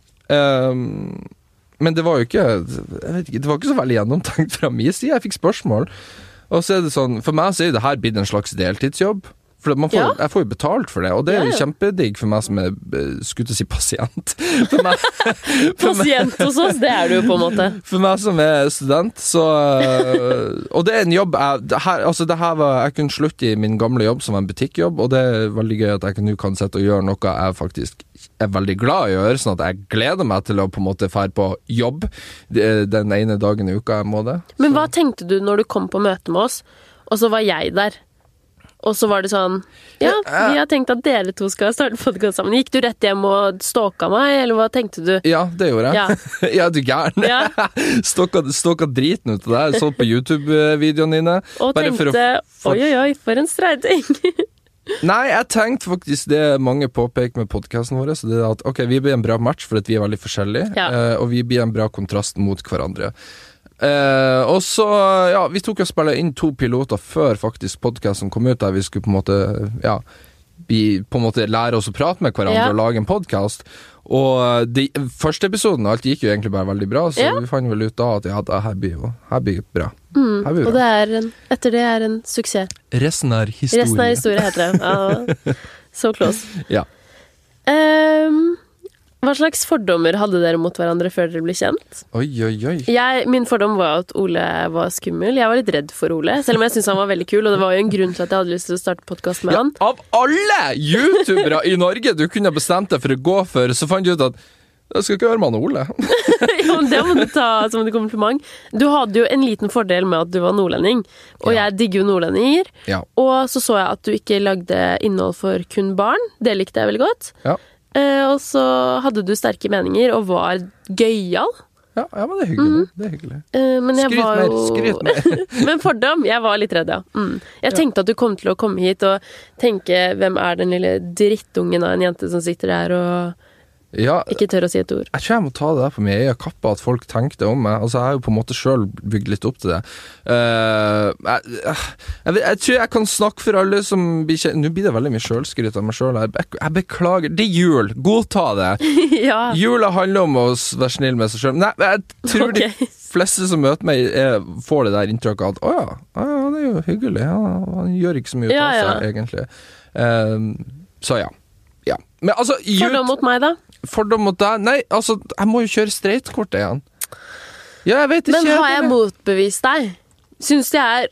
S2: Ehm, men det var jo ikke Jeg vet ikke, det var ikke så veldig gjennomtenkt fra min side. Jeg fikk spørsmål. Og så er det sånn For meg så er jo det her blitt en slags deltidsjobb. For at man får,
S1: Ja.
S2: Jeg får jo betalt for det, og det er
S1: Ja,
S2: jo
S1: ja.
S2: kjempedigg for meg som er eh, skulle til å si pasient. For meg, for meg,
S1: Pasient hos oss, det er du jo på en måte.
S2: for meg som er student, så øh, Og det er en jobb jeg, det her, altså det her var, jeg kunne slutte i min gamle jobb, som var en butikkjobb, og det er veldig gøy at jeg kan- nå kan sitte og gjøre noe jeg faktisk er veldig glad i å gjøre, sånn at jeg gleder meg til å på en måte dra på jobb de- den ene dagen i uka jeg må det.
S1: Men hva tenkte du når du kom på møte med oss, og så var jeg der? Og så var det sånn Ja, vi har tenkt at dere to skal starte podkast sammen. Gikk du rett hjem og stalka meg, eller hva tenkte du?
S2: Ja, det gjorde jeg.
S1: Ja.
S2: ja, du gæren.
S1: Ja,
S2: Stokka, stokka driten ut av deg. Jeg Så på YouTube-videoene dine.
S1: Og
S2: Bare for å
S1: tenkte
S2: for-
S1: oi, oi, oi, for en streiting.
S2: Nei, jeg tenkte faktisk det mange påpeker med podkasten vår, så det er at ok, vi blir en bra match fordi at vi er veldig forskjellige,
S1: Ja.
S2: eh, og vi blir en bra kontrast mot hverandre. Eh, og så, ja, vi tok og spilte inn to piloter før faktisk podkasten kom ut, der vi skulle på en måte, ja, vi på en måte lære oss å prate med hverandre
S1: Ja.
S2: og lage en podkast. Og eh, de, første episoden og alt gikk jo egentlig bare veldig bra, så
S1: Ja.
S2: vi fant vel ut da at ja, det her blir jo her blir bra.
S1: Mm.
S2: Her blir
S1: Og
S2: bra.
S1: det er en, etter det er en suksess.
S2: Resten er historie.
S1: Resten er historie, heter det. Ja, so close.
S2: Ja.
S1: Ehm, hva slags fordommer hadde dere mot hverandre før dere ble kjent?
S2: Oi, oi, oi.
S1: Jeg, min fordom var at Ole var skummel. Jeg var litt redd for Ole, selv om jeg syntes han var veldig kul. Og det var jo en grunn til at jeg hadde lyst til å starte podkast med han.
S2: Av alle youtubere i Norge du kunne ha bestemt deg for å gå for, så fant du ut at jeg skal ikke være med han Ole.
S1: jo, men det må du ta som en kompliment. Du hadde jo en liten fordel med at du var nordlending, og
S2: Ja.
S1: jeg digger jo nordlendinger.
S2: Ja.
S1: Og så så jeg at du ikke lagde innhold for kun barn. Det likte jeg veldig godt.
S2: Ja.
S1: Eh, og så hadde du sterke meninger og var gøyal.
S2: Ja, ja, men det er hyggelig. Det er hyggelig.
S1: Eh, men jeg
S2: Skryt
S1: var
S2: mer,
S1: jo...
S2: skryt mer.
S1: Men fordom, jeg var litt redd, ja. Mm. Jeg tenkte at du kom til å komme hit og tenke hvem er den lille drittungen av en jente som sitter der og
S2: Ja,
S1: ikke tør å si et ord.
S2: jeg tror jeg må ta det der på min egen kappe, at folk tenker det om meg. Altså, jeg har jo på en måte sjøl bygd litt opp til det. Eh, jeg, jeg, vet- jeg tror jeg kan snakke for alle som blir kjent Nå blir det veldig mye sjølskryt av meg sjøl. Jeg, bek- jeg beklager. Det er jul. Godta det.
S1: ja.
S2: Jula handler om å s- være snill med seg sjøl. Nei, men jeg tror de
S1: Ok.
S2: fleste som møter meg, er, får det der inntrykket at å ja, å ja, han er jo hyggelig, han, han gjør ikke så mye ut
S1: Ja,
S2: av
S1: ja.
S2: seg, egentlig. Ehm, så ja. ja. Men altså, jut-
S1: Fordom mot meg, da?
S2: fordom mot deg Nei, altså, jeg må jo kjøre streitkortet igjen. Ja, jeg vet ikke.
S1: Men har jeg
S2: bare-
S1: motbevist deg? Syns det er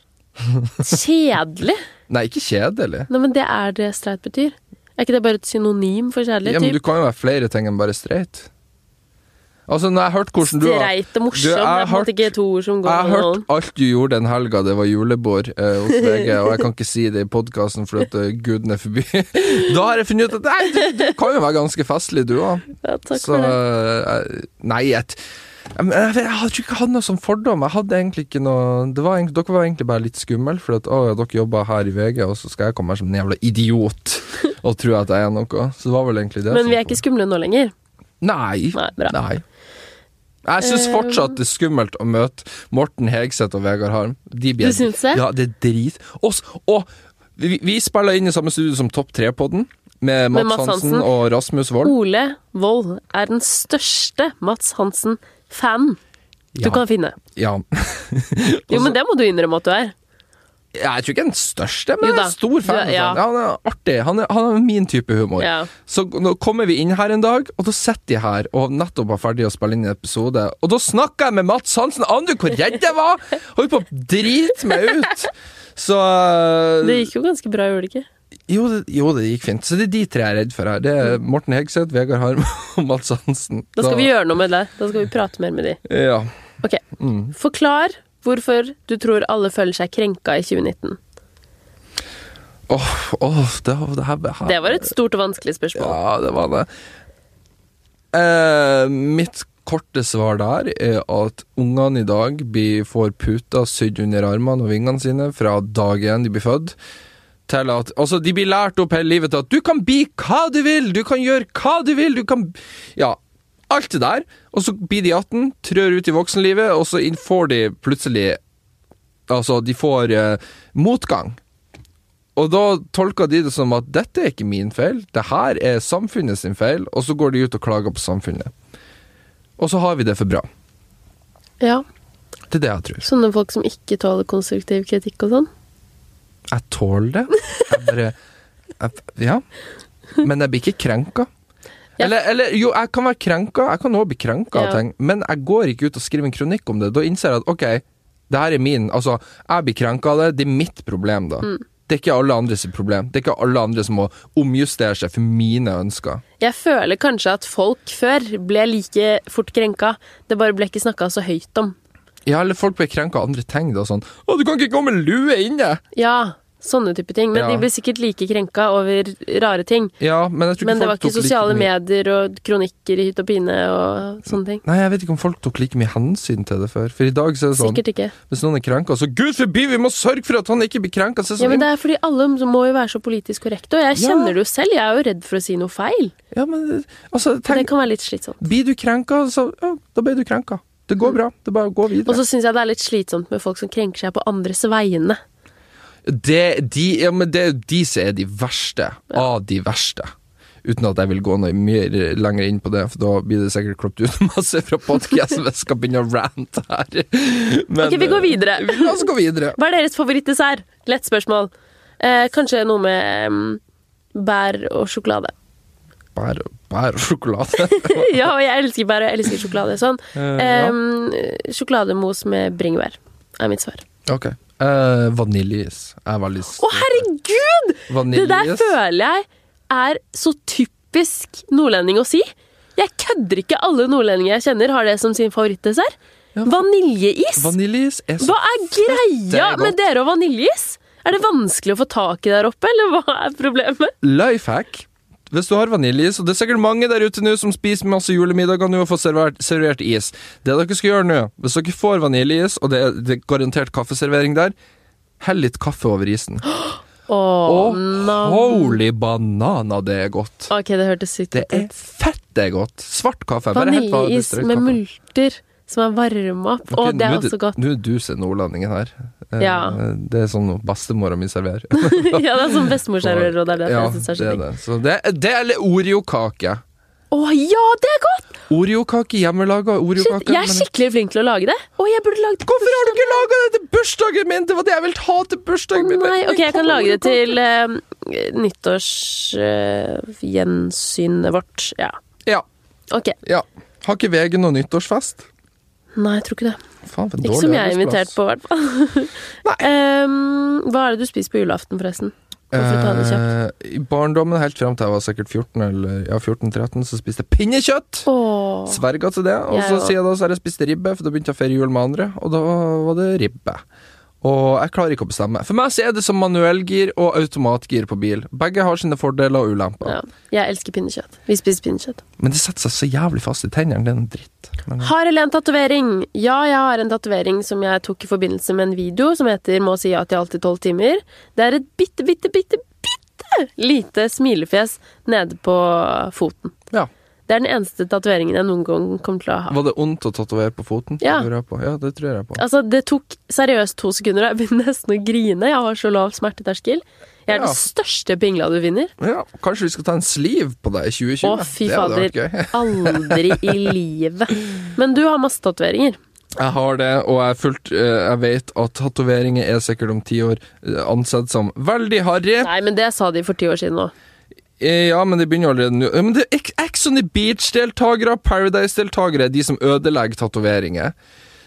S1: kjedelig?
S2: Nei, ikke kjedelig.
S1: Nei, men det er det streit betyr. Er ikke det bare et synonym for kjærlighet?
S2: Ja, men du
S1: typ?
S2: kan jo være flere ting enn bare streit. Altså, når jeg hørte hvordan du har
S1: Streit og
S2: Du,
S1: morsom,
S2: jeg
S1: det er på en
S2: har-
S1: måte ikke to ord som går
S2: Jeg har
S1: under
S2: hørt alt du gjorde den helga det var julebord eh, hos VG, og jeg kan ikke si det i podkasten fordi at eh, gudene forby. da har jeg funnet ut at nei, du, du kan jo være ganske festlig, du òg.
S1: Ja, takk
S2: Så
S1: for det.
S2: eh, nei, jeg, t- jeg, men jeg, vet- jeg hadde ikke hatt noe sånn fordom. Jeg hadde egentlig ikke noe det var, egentlig- Dere var egentlig bare litt skumle, for at å, ja, dere jobber her i VG, og så skal jeg komme her som en jævla idiot og tro at jeg er noe. Så det var vel egentlig det.
S1: Men
S2: som
S1: vi er
S2: kom.
S1: ikke skumle nå lenger.
S2: Nei.
S1: Nei, bra.
S2: Nei. Jeg syns
S1: Eh,
S2: fortsatt det er skummelt å møte Morten Hegseth og Vegard Harm. De blir-
S1: Du syns det?
S2: Ja, det er drit. Og, s- og vi, vi spiller inn i samme studio som Topp 3-podden, med Mats,
S1: Mats
S2: Hansen,
S1: Hansen.
S2: og Rasmus Wold.
S1: Ole Wold er den største Mats Hansen-fan du
S2: Ja.
S1: kan finne.
S2: Ja.
S1: Jo,
S2: Også-
S1: men det må du innrømme at du er.
S2: Jeg tror ikke den største, men
S1: Jo
S2: jeg er
S1: da.
S2: en stor fan.
S1: Du
S2: av
S1: er- ja.
S2: sånn. Ja, han er artig. Han er, han er min type humor.
S1: Ja.
S2: Så nå kommer vi inn her en dag, og da sitter de her og nettopp var ferdig å spille inn en episode. Og da snakka jeg med Mats Hansen! Aner du hvor redd jeg var?! Holdt på å drite meg ut! Så øh,
S1: Det gikk jo ganske bra, gjorde det ikke?
S2: jo, det, jo, det gikk fint. Så det er de tre jeg er redd for her. Det er Morten Hegseth, Vegard Harm og Mats Hansen.
S1: Da skal vi gjøre noe med det. Da skal vi prate mer med de.
S2: Ja.
S1: Ok. Forklar hvorfor du tror alle føler seg krenka i 2019.
S2: Åh, åh, det, det, her, her.
S1: Det var et stort og vanskelig spørsmål.
S2: Ja, det var det. Eh, mitt korte svar der er at ungene i dag blir, får puter sydd under armene og vingene sine fra dag én de blir født. Til at, altså De blir lært opp hele livet til at du kan bli hva du vil, du kan gjøre hva du vil, du kan Ja, alt det der. Og så blir de 18, trør ut i voksenlivet, og så inn- får de plutselig Altså, de får eh, motgang. Og da tolker de det som at dette er ikke min feil, det her er samfunnet sin feil, og så går de ut og klager på samfunnet. Og så har vi det for bra.
S1: Ja.
S2: Det er det jeg tror.
S1: Sånne folk som ikke tåler konstruktiv kritikk og sånn.
S2: Jeg tåler det. Jeg bare jeg, Ja. Men jeg blir ikke krenka.
S1: Ja.
S2: Eller, eller jo, jeg kan være krenka, jeg kan òg bli krenka av
S1: Ja.
S2: ting, men jeg går ikke ut og skriver en kronikk om det. Da innser jeg at ok, det her er min Altså, jeg blir krenka av det, det er mitt problem, da.
S1: Mm.
S2: Det er ikke alle andres problem. Det er ikke alle andre som må omjustere seg for mine ønsker.
S1: Jeg føler kanskje at folk før ble like fort krenka. Det bare ble ikke snakka så høyt om.
S2: Ja, eller folk blir krenka av andre ting, da. Sånn 'Å, du kan ikke gå med lue inne!'
S1: Ja, sånne type ting. Men
S2: Ja.
S1: de ble sikkert like krenka over rare ting.
S2: Ja, men jeg tror
S1: Men det var
S2: folk
S1: ikke
S2: tok like
S1: sosiale
S2: mye-
S1: medier og kronikker i hytt og pine og sånne ting.
S2: Nei, jeg vet ikke om folk tok like mye hensyn til det før. For i dag så er det sånn
S1: Sikkert ikke.
S2: Hvis noen er krenka, så gud forby, vi må sørge for at han ikke blir krenka! Så er det
S1: Ja, men
S2: sånn,
S1: det er fordi alle må jo være så politisk korrekte, og jeg
S2: Ja.
S1: kjenner det jo selv. Jeg er jo redd for å si noe feil.
S2: ja, men altså,
S1: Og det Mm.
S2: tenk,
S1: kan være litt slitsomt.
S2: blir du krenka, så ja, da blir du krenka. Det går bra. Det er bare å gå
S1: Og
S2: videre.
S1: så syns jeg det er litt slitsomt med folk som krenker seg på andres vegne.
S2: Det, de, ja, men det er jo de som er de verste av de verste. Uten at jeg vil gå noe mye lenger inn på det, for da blir det sikkert kloppet ut masse fra podkasten hvis jeg skal begynne å rante her. Men,
S1: Ok, vi går videre.
S2: eh, La oss gå videre.
S1: Hva er deres favorittdessert? Lett spørsmål. Eh, kanskje noe med mm, bær og sjokolade.
S2: Bær, bær og sjokolade.
S1: ja, og jeg elsker bær, og jeg elsker sjokolade. Sånn.
S2: Eh, ja.
S1: Em, sjokolademos med bringebær er mitt svar.
S2: Ok. Eh, vaniljeis. Jeg er veldig
S1: Å, herregud! Det der
S2: Vaniljeis.
S1: føler jeg er så typisk nordlending å si. Jeg kødder ikke. Alle nordlendinger jeg kjenner, har det som sin favorittdessert.
S2: Ja.
S1: Vaniljeis.
S2: Vaniljeis er så
S1: Hva er greia
S2: godt.
S1: med dere og vaniljeis? Er det vanskelig å få tak i der oppe, eller hva er problemet?
S2: Life hack. Hvis du har vaniljeis, og det er sikkert mange der ute nå som spiser masse julemiddager nå og får servert, servert is Det dere skal gjøre nå, hvis dere får vaniljeis, og det er, det er garantert kaffeservering der, hell litt kaffe over isen.
S1: Å,
S2: Og
S1: nam.
S2: holy banana, det er godt.
S1: Ok, det hørtes sykt
S2: Det
S1: ut.
S2: er fett det er godt. Svart kaffe. bare helt vanlig
S1: Vaniljeis
S2: strøkaffe.
S1: med multer som er varma opp. Å,
S2: Ok,
S1: det
S2: nå
S1: er også godt.
S2: Nå er du som er nordlendingen her. Eh,
S1: Ja.
S2: Det er sånn bestemora mi serverer.
S1: ja, det er sånn bestemor serverer, og det er det
S2: ja,
S1: jeg synes er
S2: det
S1: så
S2: er
S1: digg.
S2: det. Så det, det eller Oreo-kake.
S1: Å ja, det er godt!
S2: Oreokake, hjemmelaga
S1: Shit,
S2: oreokake.
S1: jeg er
S2: men-
S1: skikkelig flink til å lage det. Å, jeg burde lagd
S2: Hvorfor har du ikke laga det til bursdagen min?! Det var det jeg ville ha til bursdagen min!
S1: Nei, ok, jeg kan lage det til eh, nyttårsgjensynet vårt. Ja.
S2: Ja.
S1: Ok.
S2: ja. Har ikke VG noe nyttårsfest?
S1: Nei, jeg tror ikke det.
S2: Faen, for en
S1: Ikke
S2: dårlig
S1: som jeg er
S2: arbeidsplass.
S1: invitert på, i hvert fall. Em, hva er det du spiser på julaften, forresten? Hvorfor ta det kjapt?
S2: Eh, I barndommen helt fram til jeg var sikkert 14 eller ja, 14-13, så spiste jeg pinnekjøtt!
S1: Åh.
S2: Sverga til det. Og
S1: Jeg
S2: så
S1: også.
S2: sier jeg da så har jeg spist ribbe, for da begynte jeg å feire jul med andre, og da var det ribbe. Og jeg klarer ikke å bestemme. For meg så er det som manuellgir og automatgir på bil. Begge har sine fordeler og ulemper.
S1: Ja. Jeg elsker pinnekjøtt. Vi spiser pinnekjøtt.
S2: Men det setter seg så jævlig fast i tennene. Det er noe dritt. Men,
S1: Har eller en tatovering? Ja, jeg har en tatovering som jeg tok i forbindelse med en video som heter Må si ja til alt i tolv timer. Det er et bitte, bitte, bitte, bitte lite smilefjes nede på foten.
S2: ja.
S1: Det er den eneste tatoveringen jeg noen gang kommer til å ha.
S2: Var det ondt å tatovere på foten?
S1: Ja.
S2: Det lurer jeg på. ja, det tror jeg på.
S1: Altså, det tok seriøst to sekunder, og jeg begynner nesten å grine. Jeg har så lav smerteterskel. Jeg er
S2: Ja.
S1: den største pingla du vinner.
S2: Ja, kanskje vi skal ta en sleeve på deg i 2020?
S1: Å, fy
S2: det hadde
S1: fader.
S2: vært gøy.
S1: Aldri i livet. Men du har masse tatoveringer.
S2: Jeg har det, og jeg, er fullt, eh, jeg vet at tatoveringer er sikkert om ti år eh, ansett som veldig harry.
S1: Nei, men det sa de for ti år siden òg.
S2: Eh, Ja, men det begynner jo allerede nå. Ja, Men det er Ex- Ex on the Beach-deltakere, Paradise-deltakere, de som ødelegger tatoveringer.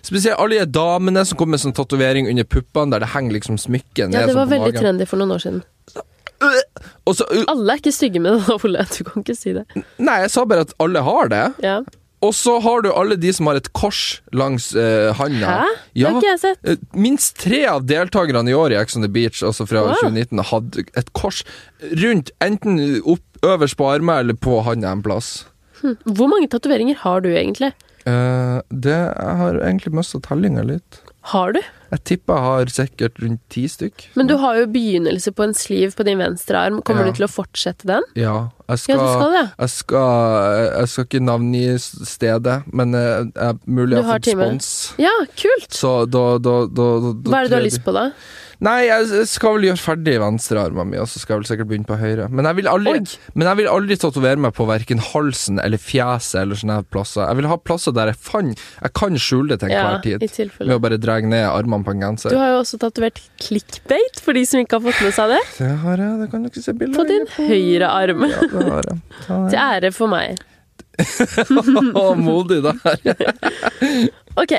S2: Spesielt alle de damene som kommer med sånn tatovering under puppene, der det henger liksom smykket ned
S1: Ja, det
S2: sånn
S1: var
S2: på
S1: veldig
S2: magen.
S1: trendy for noen år siden.
S2: Og uh, så,
S1: Alle er ikke stygge med det, Ole. Du kan ikke si det.
S2: Nei, jeg sa bare at alle har det.
S1: Ja.
S2: Og så har du alle de som har et kors langs eh, handa.
S1: Hæ? Det
S2: Ja.
S1: har ikke jeg sett.
S2: Eh, Minst tre av deltakerne i år i Ex on the Beach, altså fra
S1: Wow.
S2: 2019, hadde et kors rundt enten opp, øverst på armen eller på handa en plass.
S1: Hm. Hvor mange tatoveringer har du egentlig?
S2: Eh, det Jeg har egentlig mista tellinga litt.
S1: Har du?
S2: Jeg tipper jeg har sikkert rundt ti stykk.
S1: Men du har jo begynnelse på en sliv på din venstre arm. Kommer
S2: Ja.
S1: du til å fortsette den?
S2: Ja, jeg skal,
S1: Ja, du skal det.
S2: Jeg, skal jeg skal ikke navngi stedet, men eh, jeg, mulig
S1: Du
S2: jeg har
S1: har
S2: fått
S1: time.
S2: spons.
S1: Ja, kult!
S2: Så da, da, da, da, da
S1: Hva er det du har
S2: tror jeg-
S1: lyst på, da?
S2: Nei, jeg jeg skal vel gjøre ferdig venstrearmen min, og så skal jeg vel sikkert begynne på høyre. Men jeg vil aldri,
S1: Oi.
S2: men jeg vil aldri tatovere meg på verken halsen eller fjeset eller sånne her plasser. Jeg vil ha plasser der jeg, fan, jeg kan skjule det til
S1: Ja,
S2: enhver
S1: i
S2: tid.
S1: tilfelle.
S2: Ved å bare dra ned armene på en
S1: Du
S2: genser.
S1: har jo også tatovert clickbait, for de som ikke har fått med seg det,
S2: Det har jeg, det kan du ikke se bilder
S1: på din høyre arm.
S2: Ja, det har jeg. Det har
S1: Til
S2: jeg.
S1: ære for meg.
S2: Å, modig der.
S1: Ok.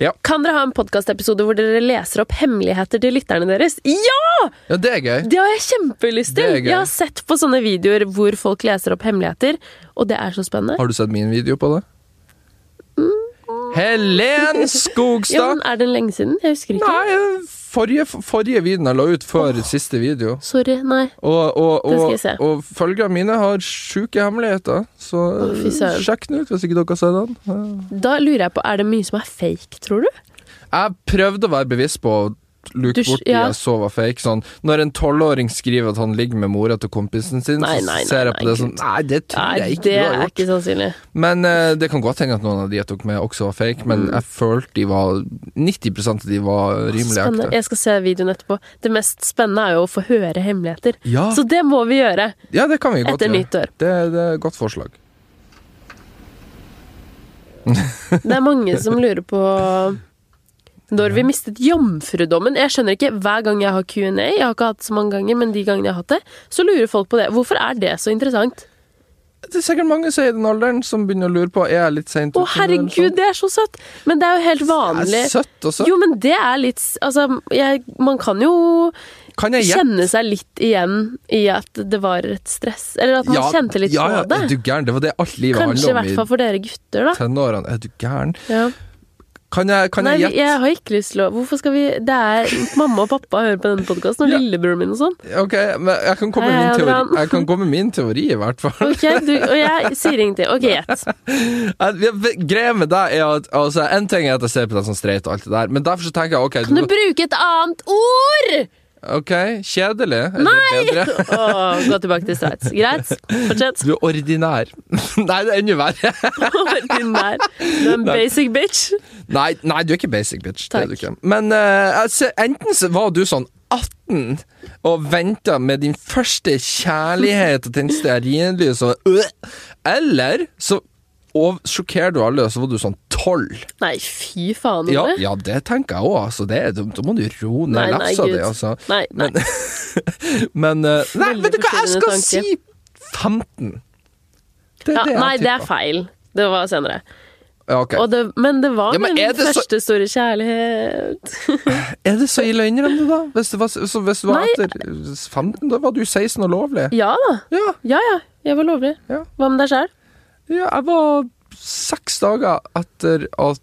S2: Ja.
S1: Kan dere ha en podkastepisode hvor dere leser opp hemmeligheter til lytterne deres? Ja!
S2: Ja, det er gøy.
S1: Det har jeg kjempelyst til!
S2: Det er gøy.
S1: Jeg har sett på sånne videoer hvor folk leser opp hemmeligheter, og det er så spennende.
S2: Har du sett min video på det? Helen
S1: Mm. Ja,
S2: Skogstad!
S1: men Er den lenge siden? Jeg husker ikke.
S2: Nei, forrige, forrige videoen jeg la ut før siste video.
S1: Sorry. Nei.
S2: Og, og,
S1: Den skal
S2: og,
S1: jeg se.
S2: og følgerne mine har sjuke hemmeligheter, så
S1: Å, fy søren.
S2: eh, sjekk den ut hvis ikke dere har sett den.
S1: Da lurer jeg på, er det mye som er fake, tror du?
S2: Jeg prøvde å være bevisst på å luke
S1: Du sk-
S2: bort de
S1: ja.
S2: jeg så var fake. Sånn, når en tolvåring skriver at han ligger med mora til kompisen sin,
S1: Nei, nei, nei,
S2: så ser jeg på
S1: nei,
S2: det sånn
S1: gud.
S2: Nei, det tror
S1: Nei,
S2: jeg ikke
S1: det
S2: du har
S1: er
S2: gjort.
S1: ikke sannsynlig.
S2: Men eh, det kan godt hende at noen av de jeg tok med, også var fake, men
S1: Mm.
S2: jeg følte de var 90 av de var rimelig
S1: Spennende.
S2: ekte.
S1: Jeg skal se videoen etterpå. Det mest spennende er jo å få høre hemmeligheter.
S2: Ja.
S1: Så det må vi gjøre
S2: ja, Ah. det kan vi godt
S1: etter
S2: gjøre.
S1: nyttår.
S2: Det, det er et godt forslag.
S1: Det er mange som lurer på når vi mistet jomfrudommen. Jeg skjønner ikke hver gang jeg har Q&A, jeg har ikke hatt det så mange ganger, men de gangene jeg har hatt det, så lurer folk på det. Hvorfor er det så interessant?
S2: Det er sikkert mange som er i den alderen som begynner å lure på Er jeg litt seint
S1: Å,
S2: sånn?
S1: herregud, det er så søtt! Men det er jo helt vanlig.
S2: Søtt og søtt.
S1: Jo, men det er litt Altså, jeg, man kan jo
S2: Kan jeg gjette?
S1: kjenne seg litt igjen i at det var et stress. Eller at man kjente litt
S2: ja, ja,
S1: på det.
S2: Er du gæren? Det var det alt livet
S1: Kanskje i hvert
S2: handla
S1: fall
S2: om
S1: for dere gutter,
S2: i
S1: da.
S2: tenårene. Er du gæren?
S1: Ja.
S2: Kan jeg, kan
S1: Nei,
S2: jeg
S1: vi-
S2: gjette?
S1: jeg har ikke lyst til å Hvorfor skal vi Det er mamma og pappa hører på denne podkasten, og
S2: Ja.
S1: lillebroren min og sånn.
S2: Ok, men jeg kan komme
S1: Hei,
S2: med min
S1: hei, Adrian.
S2: teori, jeg kan komme med min teori i hvert fall.
S1: Ok, du, Og jeg sier ingenting. Ok, gjett.
S2: Jeg- jeg- Greia med deg er at altså, En ting er at jeg ser på deg som streit og alt det der, men derfor så tenker jeg ok,
S1: Kan du
S2: du,
S1: bruke et annet ord?!
S2: ok kjedelig. Nei! Bedre.
S1: Å, gå tilbake til Sveits. Greit, fortsett.
S2: Du er ordinær. nei, det er enda verre.
S1: Ordinær. Du er en basic bitch.
S2: Nei, nei, du er ikke basic bitch.
S1: Takk.
S2: Det er du ikke. Men eh, jeg ser- enten så var du sånn 18 og venta med din første kjærlighet og tente stearinlys og øh, Eller så og sjokkerer du alle, og så var du sånn 12.
S1: Nei, fy faen.
S2: Ja,
S1: Ole.
S2: ja det tenker jeg òg, altså. Det, er- da da må du roe
S1: Nei,
S2: ned
S1: nei,
S2: lefsa
S1: Gud.
S2: di, altså.
S1: Nei, nei.
S2: Men, men eh, Nei,
S1: Veldig
S2: vet du hva, jeg skal
S1: forstyrrende
S2: si 15. Det
S1: Ja, nei, det er
S2: tipper.
S1: feil. Det var senere.
S2: Ja, ok.
S1: Og det, men det var
S2: Ja, men
S1: min
S2: er det så-
S1: første store kjærlighet.
S2: Er det så ille å innrømme det, da? Hvis det var, så hvis det var
S1: Nei.
S2: etter 15, da var du 16 og lovlig?
S1: Ja da.
S2: Ja.
S1: Ja ja, jeg var lovlig.
S2: Ja.
S1: Hva med deg sjæl?
S2: ja jeg var seks dager etter at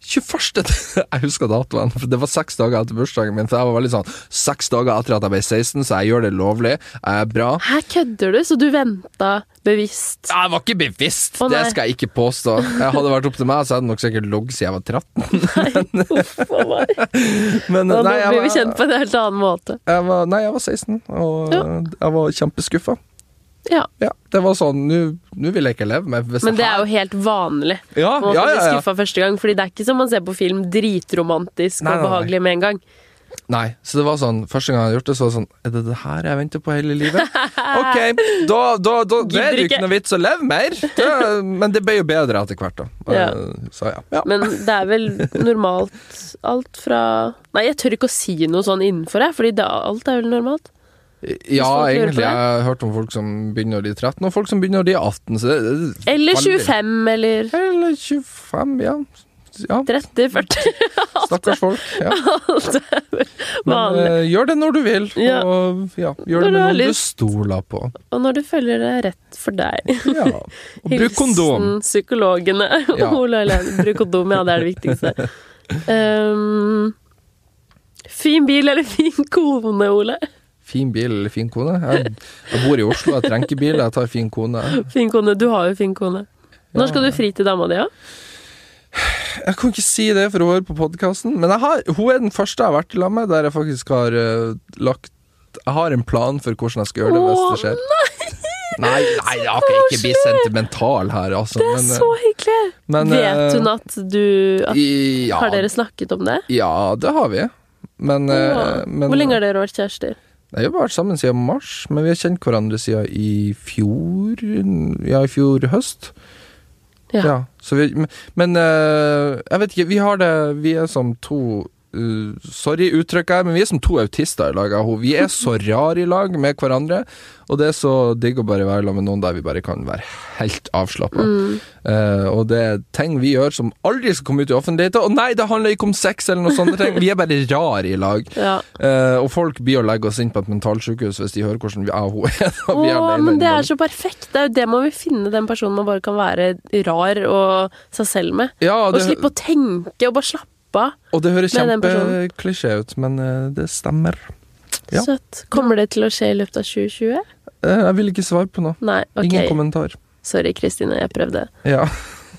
S2: 21. Jeg husker datoen, for det var seks dager etter bursdagen min. For jeg var veldig sånn Seks dager etter at jeg ble 16, så jeg gjør det lovlig. Jeg er bra.
S1: Her kødder du, så du venta bevisst.
S2: Jeg var ikke bevisst,
S1: Å,
S2: det
S1: nei.
S2: skal jeg ikke påstå. Jeg hadde vært opp til meg, så hadde jeg nok sikkert ligget siden jeg var 13.
S1: Uff a meg.
S2: Men
S1: Da
S2: nei,
S1: blir
S2: jeg
S1: vi kjent
S2: var,
S1: på en helt annen måte.
S2: jeg var, nei, jeg var 16, og
S1: Ja.
S2: jeg var kjempeskuffa.
S1: Ja,
S2: Ja, det var sånn Nå nå vil jeg ikke leve med hvis
S1: Men det er
S2: her-
S1: jo helt vanlig.
S2: Ja,
S1: Man
S2: ja,
S1: kan bli
S2: ja, ja.
S1: skuffa første gang, Fordi det er ikke som man ser på film, dritromantisk
S2: Nei, nei,
S1: og
S2: nei.
S1: behagelig med en gang.
S2: Nei, så det var sånn Første gang jeg hadde gjort det, så var det sånn Er det det her jeg venter på hele livet? Ok, da, da, da det er det jo
S1: ikke.
S2: ikke noe vits å leve mer. Det, men det ble jo bedre etter hvert, da.
S1: Ja.
S2: Eh, Så ja. ja.
S1: Men det er vel normalt alt fra Nei, jeg tør ikke å si noe sånn innenfor, jeg, fordi det, alt er vel normalt.
S2: Ja,
S1: folk lurer på
S2: egentlig.
S1: det.
S2: Jeg har hørt om folk som begynner når de er 13, og folk som begynner når de er 18. Så det, det,
S1: Eller
S2: Veldig.
S1: 25, eller
S2: Eller 25, ja. ja,
S1: 30-40
S2: stakkars folk. Ja. Men
S1: vanlig.
S2: eh, gjør det når du vil,
S1: Ja.
S2: og ja,
S1: Når
S2: gjør
S1: du
S2: det med
S1: har
S2: noen du
S1: lyst.
S2: stoler på.
S1: Og når du føler det er rett for deg.
S2: Ja. Og bruk kondom.
S1: Hilsen psykologene.
S2: Ja.
S1: Ole Øyland, bruk kondom, ja, det er det viktigste. Um, fin bil eller fin kone, Ole?
S2: Fin bil eller fin kone? Jeg, jeg bor i Oslo, jeg trenger ikke bil, jeg tar fin kone.
S1: Fin kone, du har jo fin kone.
S2: Ja.
S1: Når skal du fri til dama di, da?
S2: Jeg kan ikke si det for å høre på podkasten, men jeg har, hun er den første jeg har vært i lag med der jeg faktisk har eh, lagt Jeg har en plan for hvordan jeg skal gjøre det hvis det skjer. Nei, nei, ok, ikke bli sentimental her, altså. eh,
S1: Det er så hyggelig! Vet hun at du at,
S2: ja,
S1: Har dere snakket om det?
S2: Ja, det har vi. Men,
S1: Åh. Hvor lenge har
S2: det?
S1: dere vært kjærester?
S2: Vi har vært sammen siden mars, men vi har kjent hverandre siden i fjor Ja, i fjor høst.
S1: Ja.
S2: Ja. så vi, men- men eh, jeg vet ikke, vi har det Vi er som to eh, Sorry uttrykket her, men vi er som to autister i lag. jeg og hun. Vi er så rare i lag med hverandre, og det er så digg å bare være i lag med noen der vi bare kan være helt avslappa.
S1: Mm.
S2: og det er ting vi gjør som aldri skal komme ut i offentligheten. Og nei, det handler ikke om sex eller noe sånt, vi er bare rare i lag.
S1: Ja.
S2: Eh, og folk blir å legge oss inn på et mentalsykehus hvis de hører hvordan vi jeg og hun er. da vi er
S1: Åh,
S2: alene
S1: men det
S2: innimellom.
S1: er så perfekt. Det er jo det man vil finne, den personen man bare kan være rar og seg selv med.
S2: ja,
S1: Og slippe å tenke og bare slappe av.
S2: Og det høres
S1: Med den personen.
S2: kjempeklisjé ut, men eh, det stemmer. Ja.
S1: Søtt. Kommer det til å skje i løpet av 2020?
S2: Eh, jeg vil ikke svare på noe.
S1: Nei,
S2: Ingen
S1: ok.
S2: kommentar.
S1: Sorry, Kristine, jeg prøvde.
S2: Ja.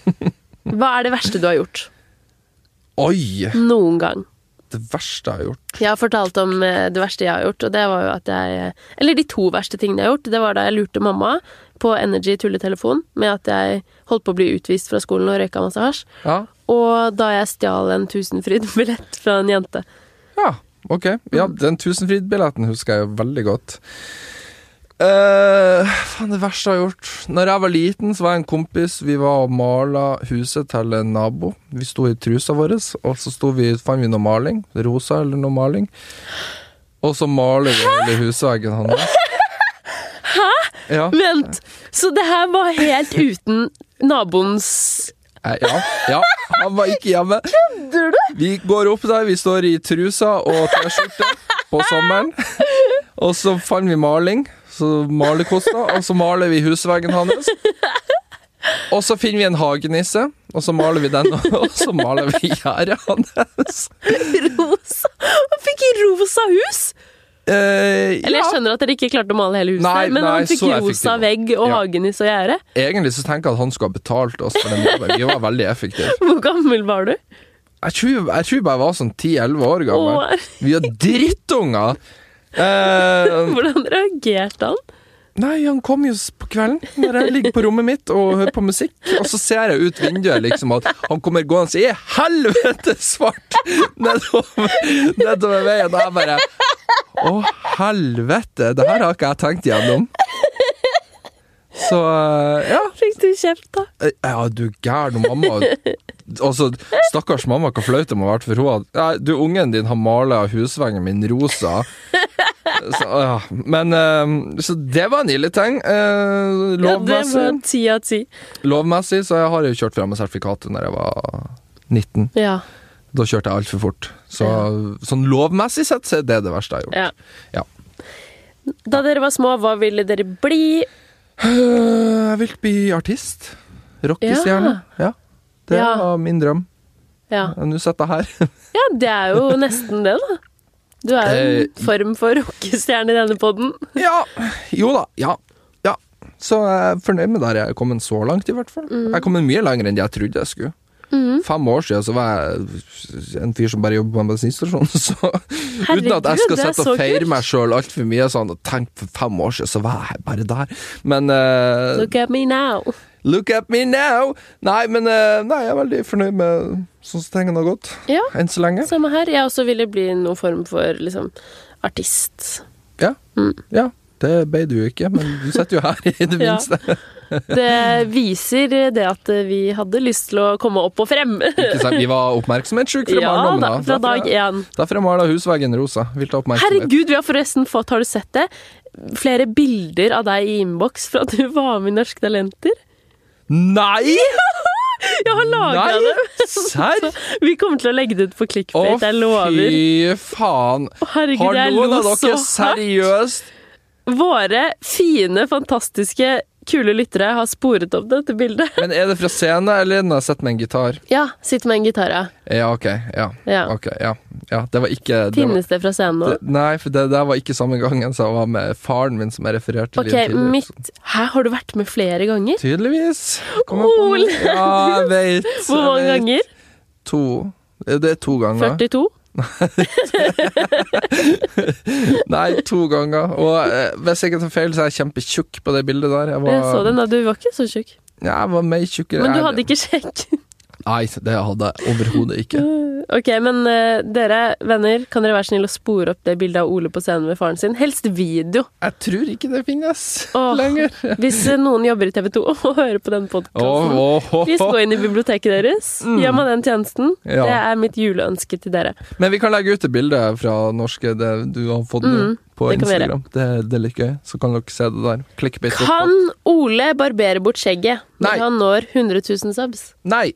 S2: Mm.
S1: Hva er det verste du har gjort?
S2: Oi!
S1: Noen gang.
S2: Det verste jeg har gjort.
S1: Jeg har fortalt om eh, det verste jeg har gjort, og det var jo at jeg Eller de to verste tingene jeg har gjort. Det var da jeg lurte mamma på Energy tulletelefon med at jeg holdt på å bli utvist fra skolen og røyka masse hasj.
S2: Ja.
S1: Og da jeg stjal en Tusenfryd-billett fra en jente.
S2: ja. Ok. Ja, den Tusenfryd-billetten husker jeg jo veldig godt. Eh, faen, det verste jeg har gjort Når jeg var liten, så var jeg en kompis. Vi var og mala huset til en nabo. Vi sto i trusa vår, og så sto vi, fant vi noe maling. Rosa eller noe maling. Og så maler vi hele husveggen hans. Hæ?! Ja.
S1: Vent! Så det her var helt uten naboens
S2: Eh, Ja, ja, han var ikke hjemme.
S1: Kødder du?!
S2: Vi går opp der, vi står i trusa og T-skjorte på sommeren. Og så fant vi maling, så malekosta, og så maler vi husveggen hans. Og så finner vi en hagenisse, og så maler vi den, og så maler vi gjerdet hans.
S1: Rosa! Han fikk rosa hus!
S2: Eh,
S1: Eller jeg
S2: ja.
S1: skjønner at dere ikke klarte å male hele huset,
S2: Nei,
S1: men
S2: nei,
S1: han fikk
S2: så effektiv.
S1: rosa vegg og
S2: Ja.
S1: hagenis og gjerde.
S2: Egentlig så tenker jeg at han skulle ha betalt oss for den jobben. Vi var veldig effektive.
S1: Hvor gammel var du?
S2: Jeg tror jeg, tror bare jeg var sånn 10-11 år gammel.
S1: Å,
S2: Vi var drittunger! Eh,
S1: Hvordan reagerte han?
S2: Nei, han kom jo s- på kvelden når jeg ligger på rommet mitt og hører på musikk. Og så ser jeg ut vinduet liksom at han kommer gående i helvete svart nedover, nedover veien. Og jeg bare Å, helvete! Det her har ikke jeg tenkt gjennom. Så ja.
S1: Fikk du kjeft, da?
S2: Eh, Ja, du er gæren og mamma. Altså, stakkars mamma, hva flaut det må ha vært for henne. at, «Nei, Du, ungen din har mala husveggen min rosa. Så, ja. Men eh, Så det var en ille ting. Eh,
S1: Ja, det var
S2: lovmessig,
S1: ti av ti.
S2: lovmessig så jeg har jo kjørt fra meg sertifikatet når jeg var 19.
S1: Ja.
S2: Da kjørte jeg altfor fort. Så sånn lovmessig sett så er det det verste jeg har gjort.
S1: ja.
S2: Ja.
S1: Da dere var små, hva ville dere bli?
S2: Eh, Jeg vil bli artist. Rockestjerne. Ja. Det
S1: Ja.
S2: var min drøm.
S1: Ja.
S2: Nå sitter jeg her.
S1: ja, det er jo nesten det, da. Du er jo en
S2: Eh,
S1: form for rockestjerne i denne podden.
S2: Ja, jo da, ja. ja. Så jeg er fornøyd med der jeg er kommet så langt, i hvert fall.
S1: Mm.
S2: Jeg er kommet mye lenger enn jeg trodde jeg skulle. Fem år siden så var jeg en fyr som bare jobber på en bensinstasjon, så uten
S1: Herregud,
S2: at jeg skal
S1: det er
S2: sette
S1: så
S2: og feire
S1: kult.
S2: meg sjøl altfor mye sånn og tenk for fem år siden så var jeg bare der, men eh,
S1: Look at me now.
S2: look at me now! Nei, men eh, nei, jeg er veldig fornøyd med sånn som tingene har gått
S1: Ja,
S2: enn så lenge.
S1: samme her. Jeg også ville bli noen form for liksom artist.
S2: Ja.
S1: Mm.
S2: ja. Det ble du jo ikke, men du sitter jo her, i det
S1: Ja.
S2: minste.
S1: Det viser det at vi hadde lyst til å komme opp og frem.
S2: Ikke sant? Vi var oppmerksomhetssyke fra
S1: Ja
S2: barndommen
S1: da,
S2: av.
S1: fra dag
S2: Derfor-
S1: én.
S2: Derfor jeg maler husveggen rosa. Vil ta oppmerksomhet.
S1: Herregud, vi har forresten fått, har du sett det? Flere bilder av deg i innboks fra at du var med i Norske Talenter.
S2: Nei!
S1: Ja, jeg har lagra det!
S2: Nei, serr?
S1: Vi kommer til å legge det ut på
S2: Å,
S1: clickbait, jeg lover.
S2: fy faen.
S1: Å, Herregud,
S2: Har
S1: jeg
S2: noen
S1: lo
S2: av
S1: så
S2: dere
S1: hardt.
S2: seriøst
S1: Våre fine, fantastiske, kule lyttere har sporet opp dette bildet.
S2: Men er det fra scenen, eller er det når jeg sitter med en gitar?
S1: Ja, sitt med en gitar, ja.
S2: Ja, OK. Ja.
S1: ja.
S2: ok, ja. ja det var ikke det var,
S1: Finnes det fra scenen nå?
S2: det, Nei, for det der var ikke samme gangen som jeg var med faren min, som jeg refererte til. i
S1: Ok,
S2: en tidligere episode.
S1: mitt Hæ, har du vært med flere ganger?
S2: Tydeligvis. Kom jeg på
S1: Ole!
S2: noe? Ja, jeg vet.
S1: Hvor
S2: jeg
S1: mange
S2: vet.
S1: ganger?
S2: To. Det er to ganger.
S1: 42?
S2: Nei, to ganger. Og eh, hvis jeg ikke tar feil, så er jeg kjempetjukk på det bildet der. Jeg var,
S1: Jeg så den da, du var ikke så tjukk.
S2: Ja, jeg var mer tjukkere.
S1: Men du
S2: Jeg-
S1: hadde ikke sjekk.
S2: Nei, det hadde jeg overhodet ikke.
S1: Ok, men eh, dere, venner, kan dere være snill å spore opp det bildet av Ole på scenen med faren sin? Helst video.
S2: Jeg tror ikke det finnes
S1: Åh.
S2: lenger.
S1: Hvis eh, noen jobber i TV 2 og hører på den podkasten. Please gå inn i biblioteket deres. Gjør meg den tjenesten.
S2: Mm. Ja.
S1: Det er mitt juleønske til dere.
S2: Men vi kan legge ut et bilde fra norske det du har fått nå
S1: Mm,
S2: på
S1: det kan vi gjøre.
S2: Instagram. Det, det er litt gøy, så kan dere se det der. Clickbait.
S1: Kan Ole barbere bort skjegget når
S2: Nei.
S1: han når 100 000 subs?
S2: Nei!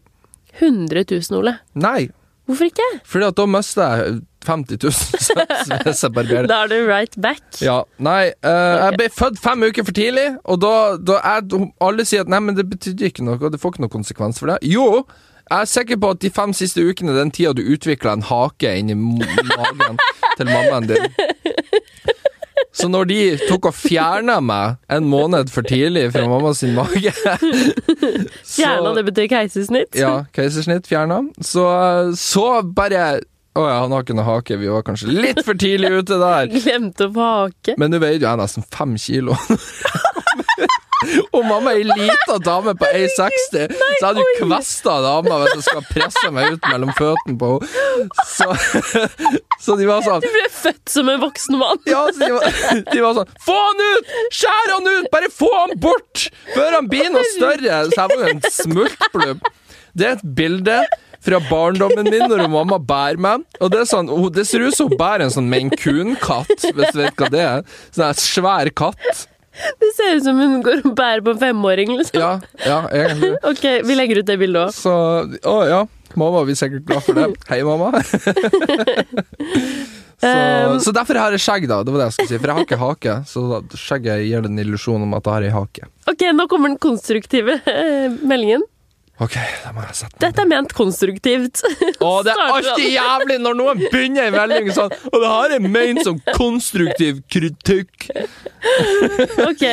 S1: 100 000, Ole.
S2: Nei!
S1: Hvorfor ikke?
S2: Fordi at da mister jeg 50 000 subs hvis jeg barberer.
S1: Da er du right back.
S2: Ja, nei, eh, jeg ble født fem uker for tidlig, og da, da er, alle sier at nei, men det betydde ikke noe, det får ikke noen konsekvens for det. Jo, jeg er sikker på at de fem siste ukene, den tida du utvikla en hake inni m- magen til mammaen din. Så når de tok og fjerna meg en måned for tidlig fra mamma sin mage så-
S1: Fjerna, det betyr keisersnitt.
S2: ja, keisersnitt fjerna. Så, så bare Å ja, han har ikke noe hake. Vi var kanskje litt for tidlig ute der.
S1: Glemte å få hake.
S2: Men nå veier jo jeg nesten fem kilo. Og mamma er ei lita dame på 1,60, så jeg hadde jo kvesta dama hvis jeg skal presse meg ut mellom føttene på henne. Så, så de var sånn
S1: Du ble født som en voksen mann.
S2: ja, så de, var, de var sånn Få han ut! Skjær han ut! Bare få han bort! Før han blir noe større! Så jeg var jo en smultplubb. Det er et bilde fra barndommen min når hun mamma bærer meg. Og det, er sånn, hun- det ser ut som hun bærer en sånn Maine-Coon-katt, hvis du vet hva det er. Sånn en svær katt.
S1: Det ser ut som hun går og bærer på en femåring, liksom.
S2: Ja, ja, egentlig.
S1: Ok, vi legger ut det bildet òg.
S2: Så Å ja. Mamma blir sikkert glad for det. Hei, mamma. Så,
S1: Um,
S2: så derfor har jeg skjegg, da. Det var det jeg skulle si. For jeg har ikke hake. Så da, skjegget gir den illusjonen om at jeg har ei hake.
S1: Ok, nå kommer den konstruktive eh, meldingen.
S2: OK, da må jeg sette meg
S1: Dette er ment konstruktivt.
S2: Og det er
S1: Starter
S2: alltid jævlig når noen begynner en melding sånn Og det her er ment som konstruktiv kritikk.
S1: Ok.